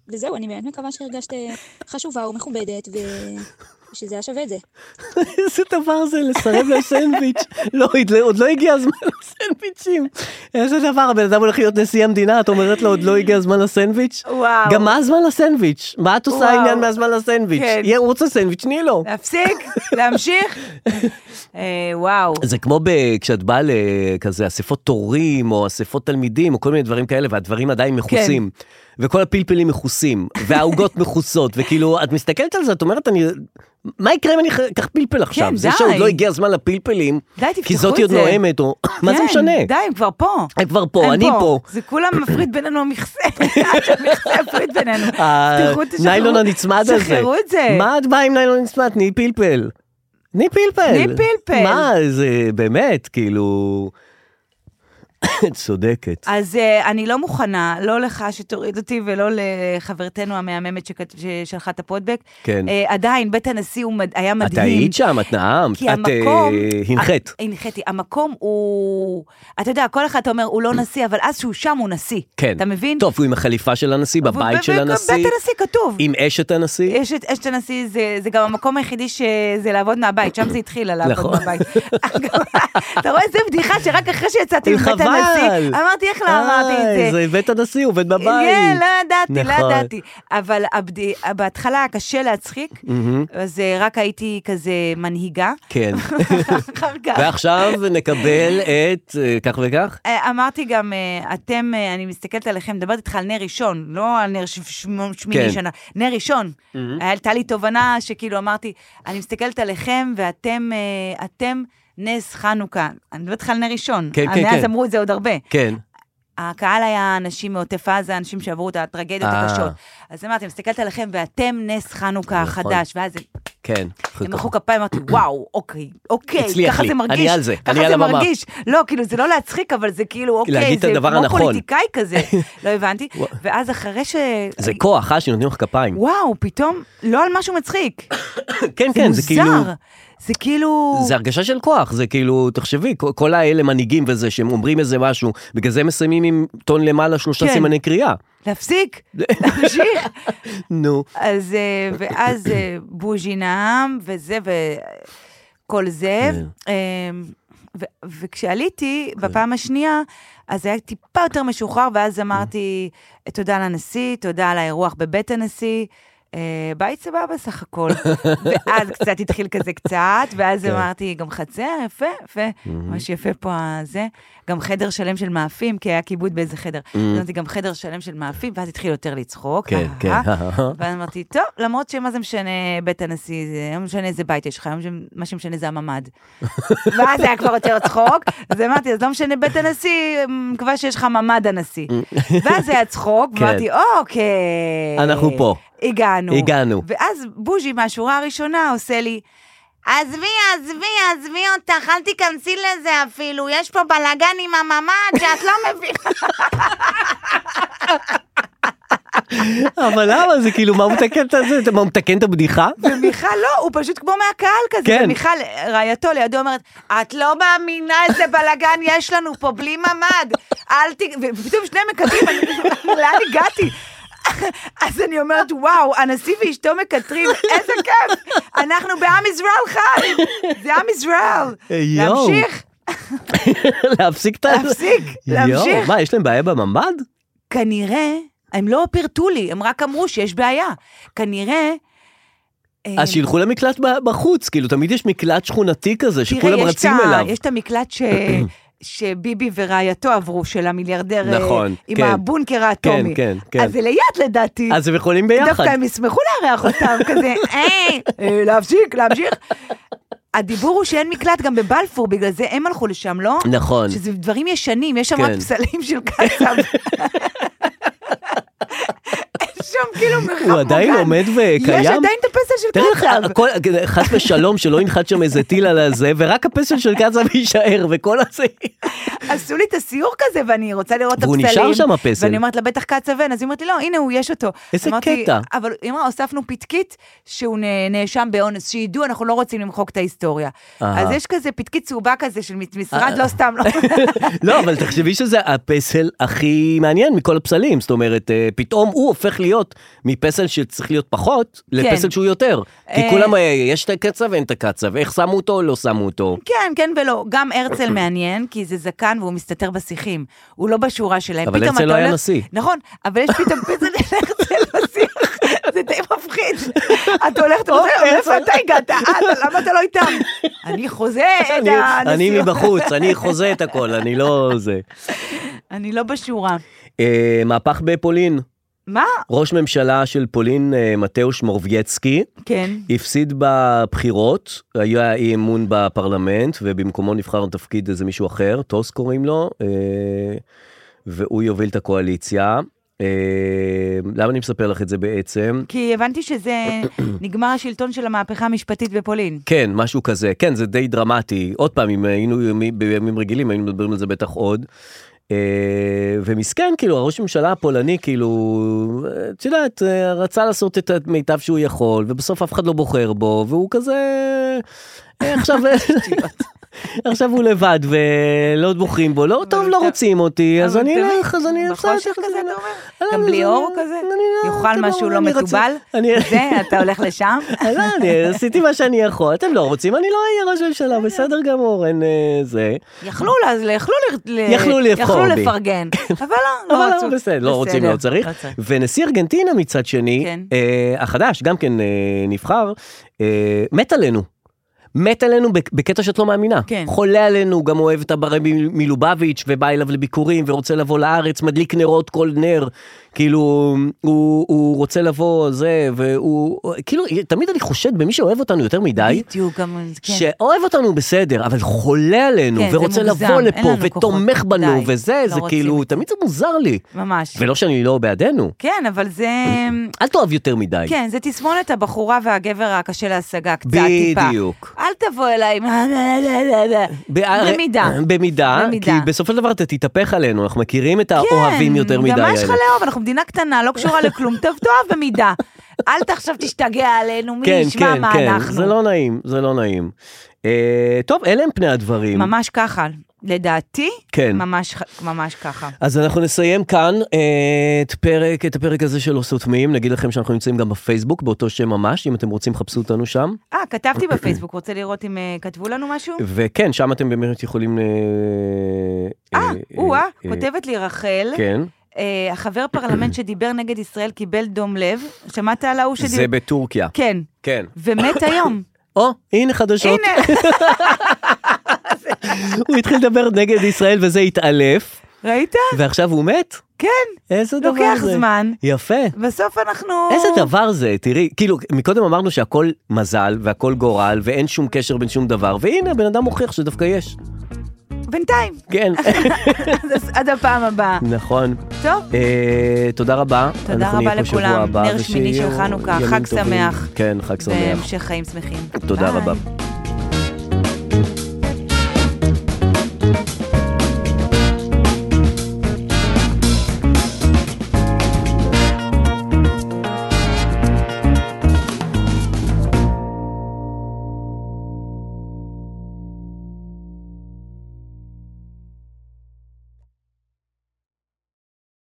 וזהו, אני באמת מקווה שהרגשת אה, חשובה ומכובדת, ושזה היה שווה את זה. [LAUGHS] איזה דבר זה לסרב לסנדוויץ'. לא, עוד לא הגיע הזמן [LAUGHS] לסנדוויצ'ים. איזה דבר, הבן אדם הולך להיות נשיא המדינה, את אומרת לו עוד לא הגיע הזמן לסנדוויץ'? וואו. גם מה הזמן לסנדוויץ'? מה את עושה וואו. העניין מהזמן לסנדוויץ'? כן. יהיה, הוא רוצה סנדוויץ', תני לו. להפסיק? [LAUGHS] להמשיך? אה, וואו. זה כמו ב- כשאת באה לכזה אספות תורים, או אספות תלמידים, או כל מיני דברים כאלה, והדברים עדיין כן. מכוסים. וכל הפלפלים מכוסים, והעוגות [LAUGHS] מכוסות, וכאילו, את מסתכלת על זה, את אומרת, אני... מה יקרה אם אני אח- אקח פלפל עכשיו? זה כן, די. שעוד לא הגיע הזמן לפלפלים, די, תפתחו את זה. כי זאתי עוד נואמת, או... [LAUGHS] מה זה כן, משנה? די, הם כבר פה. הם כבר פה, אני פה. זה כולם מפריד בינינו המכסה, [LAUGHS] המכסה הפריד [LAUGHS] בינינו. תפתחו, תשחררו. הניילון אה, הנצמד הזה. שחררו את זה. מה את באה עם ניילון נצמד? תני פלפל. תני פלפל. תני פלפל. מה, זה באמת, כאילו... [COUGHS] את צודקת. אז אה, אני לא מוכנה, לא לך שתוריד אותי ולא לחברתנו המהממת שכת- ששלחה את הפודבק. כן. אה, עדיין, בית הנשיא הוא מד- היה את מדהים. היית שם, את נאמת, כי את אה, המקום... אה, הנחית. ה- הנחתי. המקום הוא... אתה יודע, כל אחד אומר, הוא לא נשיא, אבל אז שהוא שם הוא נשיא. כן. אתה מבין? טוב, הוא עם החליפה של הנשיא, בבית של הנשיא. בבית הנשיא כתוב. עם אשת הנשיא. יש את אשת הנשיא, זה, זה גם המקום היחידי שזה לעבוד מהבית, שם זה התחיל, לעבוד נכון. מהבית. אתה רואה, זו בדיחה שרק אחרי שיצאתי מבית חבל. הנשיא, אמרתי, איך לא אמרתי את איי, זה? אה, זה בית הנשיא, הוא עובד בבית. כן, לא ידעתי, לא נכון. ידעתי. אבל הבד- בהתחלה היה קשה להצחיק, מהמם. אז אה, רק הייתי כזה [LAUGHS] מנהיגה. כן. אחר כך. ועכשיו נקבל את אה, כך וכך. אה, אמרתי גם, אה, אתם, אה, אני מסתכלת עליכם, מדברת איתך על נר ראשון, לא על נר ש- שמ- שמיני כן. שנה, נר ראשון. מהמם. הייתה לי תובנה שכאילו אמרתי, אני מסתכלת עליכם ואתם, אה, אתם נס חנוכה. אני מדברת איתך על נר ראשון. כן, כן, מאז כן. אמרו את זה עוד הרבה. כן. הקהל היה אנשים מעוטף עזה, אנשים שעברו את הטרגדיות אה. הקשות. אז אמרתי, אני מסתכלת עליכם ואתם נס חנוכה נכון. החדש, ואז הם- כן. הם מחאו כפיים, אמרתי, וואו, אוקיי, אוקיי, הצליח ככה לי, זה אני מרגיש. על זה, ככה אני על זה הבמה. מרגיש. לא, כאילו, זה לא להצחיק, אבל זה כאילו, אוקיי, להגיד את זה הדבר כמו הנכון. פוליטיקאי [LAUGHS] כזה. לא הבנתי. וואו. ואז אחרי ש... [LAUGHS] זה כוח, אה, שנותנים לך כפיים. וואו, פתאום, לא על משהו מצחיק. כן, כן, זה כאילו- מוזר. זה כאילו... זה הרגשה של כוח, זה כאילו, תחשבי, כל- כל האלה מנהיגים וזה, שהם אומרים איזה משהו, בגלל זה הם מסיימים עם טון למעלה שלושה כן. סימני קריאה. [LAUGHS] להפסיק, להמשיך. נו. אז, אה, ואז אה, בוז'י נאם, וזה, וכל זה. כן. אה, ו- וכשעליתי בפעם השנייה, אז היה טיפה יותר משוחרר, כן. ואז אמרתי, "אה, תודה לנשיא, תודה על האירוח בבית הנשיא. אה, בית סבבה סך [LAUGHS] הכל. ואז קצת התחיל כזה קצת, ואז כן. אמרתי, גם חצר, יפה, יפה, ממש יפה פה הזה. גם חדר שלם של מאפים, כי היה כיבוד באיזה חדר. אז Mhm. אמרתי, גם חדר שלם של מאפים, ואז התחיל יותר לצחוק. אה, כן, כן. ואז אמרתי, טוב, למרות שמה זה משנה בית הנשיא, זה לא משנה איזה בית יש לך, מה שמשנה [LAUGHS] זה הממ"ד. ואז היה כבר יותר צחוק, אז אמרתי, אז לא משנה בית הנשיא, מקווה שיש לך ממ"ד [LAUGHS] הנשיא. ואז היה צחוק, כן. ואמרתי, אוקיי. אנחנו פה. הגענו. הגענו. ואז בוז'י מהשורה הראשונה עושה לי, עזבי, עזבי, עזבי אותך, אל תיכנסי לזה אפילו, יש פה בלאגן עם הממ"ד שאת לא מבינה. [LAUGHS] אבל למה זה כאילו, מה הוא מתקן את זה? מה הוא מתקן את הבדיחה? [LAUGHS] ומיכל לא, הוא פשוט כמו מהקהל כזה. כן. ומיכל, רעייתו לידו אומרת, את לא מאמינה איזה בלאגן יש לנו פה, בלי ממ"ד. אל ת... ופתאום שניהם מקטרים, אני- לאן הגעתי? אז אני אומרת, וואו, הנשיא ואשתו מקטרים, איזה כיף, אנחנו בעם ישראל חי, זה עם ישראל. אה, יואו. להמשיך, להפסיק את ה... להפסיק, יואו, להמשיך. מה, יש להם בעיה בממ"ד? כנראה, הם לא פירטו לי, הם רק אמרו שיש בעיה. כנראה... אה, אז שילכו למקלט ב- בחוץ, כאילו, תמיד יש מקלט שכונתי כזה, שכולם יש רצים את ה- אליו. יש את [CLEARS THROAT] המקלט ש... שביבי ורעייתו עברו, של המיליארדר, אה, נכון, עם כן. הבונקר האטומי. כן, כן, כן. אז זה ליד לדעתי. אז הם יכולים ביחד. דווקא הם ישמחו [LAUGHS] לארח אותם, כזה, "אה, אה, להפסיק, להמשיך. הדיבור הוא שאין מקלט גם בבלפור, בגלל זה הם הלכו לשם, לא? נכון. שזה דברים ישנים, יש שם רק כן. פסלים של [LAUGHS] קצב. אין שם כאילו מרחב מוגן. הוא עדיין עומד וקיים? יש עדיין את הפסל של תאר לך, קצב. הכל- אה, חס ושלום שלא ינחת שם איזה טיל על הזה, ורק הפסל של קצב יישאר, וכל הזה... עשו לי את הסיור כזה, ואני רוצה לראות את והוא הפסלים. נשאר שם, הפסל. ואני אומרת לה, בטח קצבן, אז היא אומרת לי, לא, הנה הוא, יש אותו. איזה אמרתי, קטע. אבל היא אמרה, הוספנו פתקית שהוא נ- נאשם באונס, שידעו, אנחנו לא רוצים למחוק את ההיסטוריה. אהה. אה. אז יש כזה פתקית צהובה כזה של מ- משרד, לא סתם, לא. [LAUGHS] לא, אבל תחשבי שזה הפסל הכי מעניין מכל הפסלים. זאת אומרת, אה, פתאום הוא הופך להיות מפסל שצריך להיות פחות, לפסל שהוא יותר. כי כן. אה, כולם, אה, יש את הקצב ואין את הקצב, איך שמו אותו, לא שמו אותו. כן, כן ולא. גם הרצל מעניין, כי זה זקן והוא מסתתר בשיחים. הוא לא בשורה שלהם. אבל פתאום הרצל אתה לא היה הולך- נשיא. נכון, אבל יש [LAUGHS] פתאום פסל של הרצל בשיח. זה די מפחיד. [LAUGHS] אתה הולך, אתה אוקיי, חוזר, איפה אתה הגעת? אה, למה אתה לא [LAUGHS] איתם? אני חוזה את אני- הנשיא. אני מבחוץ, אני חוזה את הכל, אני לא זה. אני לא בשורה. אה, מהפך בפולין. מה? ראש ממשלה של פולין, אה, מתאוש מורבייצקי, כן. הפסיד בבחירות, היה אי אמון בפרלמנט, ובמקומו נבחר לתפקיד איזה מישהו אחר, טוס קוראים לו, אה, והוא יוביל את הקואליציה. אה, למה אני מספר לך את זה בעצם? כי הבנתי שזה [CLEARS THROAT] נגמר השלטון של המהפכה המשפטית בפולין. כן, משהו כזה. כן, זה די דרמטי. עוד פעם, אם היינו ימים- בימים רגילים, היינו מדברים על זה בטח עוד. אה, ומסכן, כאילו, הראש הממשלה הפולני, כאילו, אה, את יודעת, אה, רצה לעשות את המיטב שהוא יכול, ובסוף אף אחד לא בוחר בו, והוא כזה... אה, [LAUGHS] עכשיו... עכשיו הוא לבד ולא בוחרים בו, לא טוב, לא רוצים אותי, אז אני אלך, אז אני... בחושך כזה, נכון אתה "לא, אומר? גם בלי אור כזה? יאכל משהו לא אני רצה- מתובל? זה, אתה הולך לשם? לא, [LAUGHS] אני עשיתי מה שאני יכול, אתם לא רוצים, אני לא אהיה ראש ממשלה, בסדר גמור, אין אה, זה. יכלו, לה- יכלו, ל- יכלו לבחור יכלו בי. [LAUGHS] לפרגן, אבל לא, אבל לא לא, רצו. בסדר, לא רוצים, בסדר, לא צריך. לא צריך. ונשיא ארגנטינה מצד שני, כן. אה, החדש, גם כן אה, נבחר, אה, מת עלינו. מת עלינו בק- בקטע שאת לא מאמינה. כן. חולה עלינו, גם אוהב את הברי מ- מלובביץ' ובא אליו לביקורים ורוצה לבוא לארץ, מדליק נרות כל נר. כאילו, הוא, הוא רוצה לבוא, זה, והוא... כאילו, תמיד אני חושד במי שאוהב אותנו יותר מדי. בדיוק, גם... כן. שאוהב אותנו בסדר, אבל חולה עלינו, כן, זה ורוצה מוגזם, לבוא אין לפה, לנו ותומך כוחות, בנו, די, וזה, לא זה רוצים כאילו, תמיד זה מוזר לי. ממש. ולא שאני לא בעדנו. כן, אבל זה... [COUGHS] אל תאהב יותר מדי. כן, זה תסמונת הבחורה והגבר הקשה להשגה, קצת, טיפה. בדיוק. אל תבוא אליי, עם ה- לה- לה- לה- לה. בא- במידה. אה, במידה, כי במידה. כן, בסופו של דבר אתה תתהפך עלינו, אנחנו מכירים את האוהבים יותר מדי גם מה האלה. יש לך לאהוב? אנחנו מדינה קטנה, לא קשורה לכלום, טוב, תאהב במידה. אל תחשב תשתגע עלינו, מי כן, ישמע כן, מה כן, אנחנו. זה לא נעים, זה לא נעים. אה, טוב, אלה הם פני הדברים. ממש ככה, לדעתי, כן. ממש, ח- ממש ככה. אז אנחנו נסיים כאן אה, את, פרק, את הפרק הזה של לא סותמים, נגיד לכם שאנחנו נמצאים גם בפייסבוק, באותו שם ממש, אם אתם רוצים, חפשו אותנו שם. אה, כתבתי בפייסבוק, רוצה לראות אם אה, כתבו לנו משהו? וכן, שם אתם באמת יכולים... אה, אה, או-אה, אה, כותבת לי רחל. כן. אה, החבר פרלמנט שדיבר נגד ישראל קיבל דום לב, שמעת על ההוא שדיבר? זה בטורקיה. כן. כן. [COUGHS] ומת היום. או, הנה חדשות. הנה, הוא התחיל לדבר נגד ישראל וזה התעלף, ראית? ועכשיו הוא מת? כן. איזה דבר [LAUGHS] זה? לוקח זמן. יפה. בסוף אנחנו... איזה דבר זה, תראי, כאילו, מקודם אמרנו שהכל מזל והכל גורל ואין שום קשר בין שום דבר, והנה, הבן אדם הוכיח שדווקא יש. בינתיים. [LAUGHS] כן. אז עד הפעם הבאה. נכון. טוב. אה, תודה רבה. תודה אנחנו נהיה רבה פה שבוע לכולם. הבא, נר שמיני של ושיהיו חנוכה, ימים חג טובים. שמח. כן, חג שמח. והמשך חיים שמחים. תודה ביי. רבה.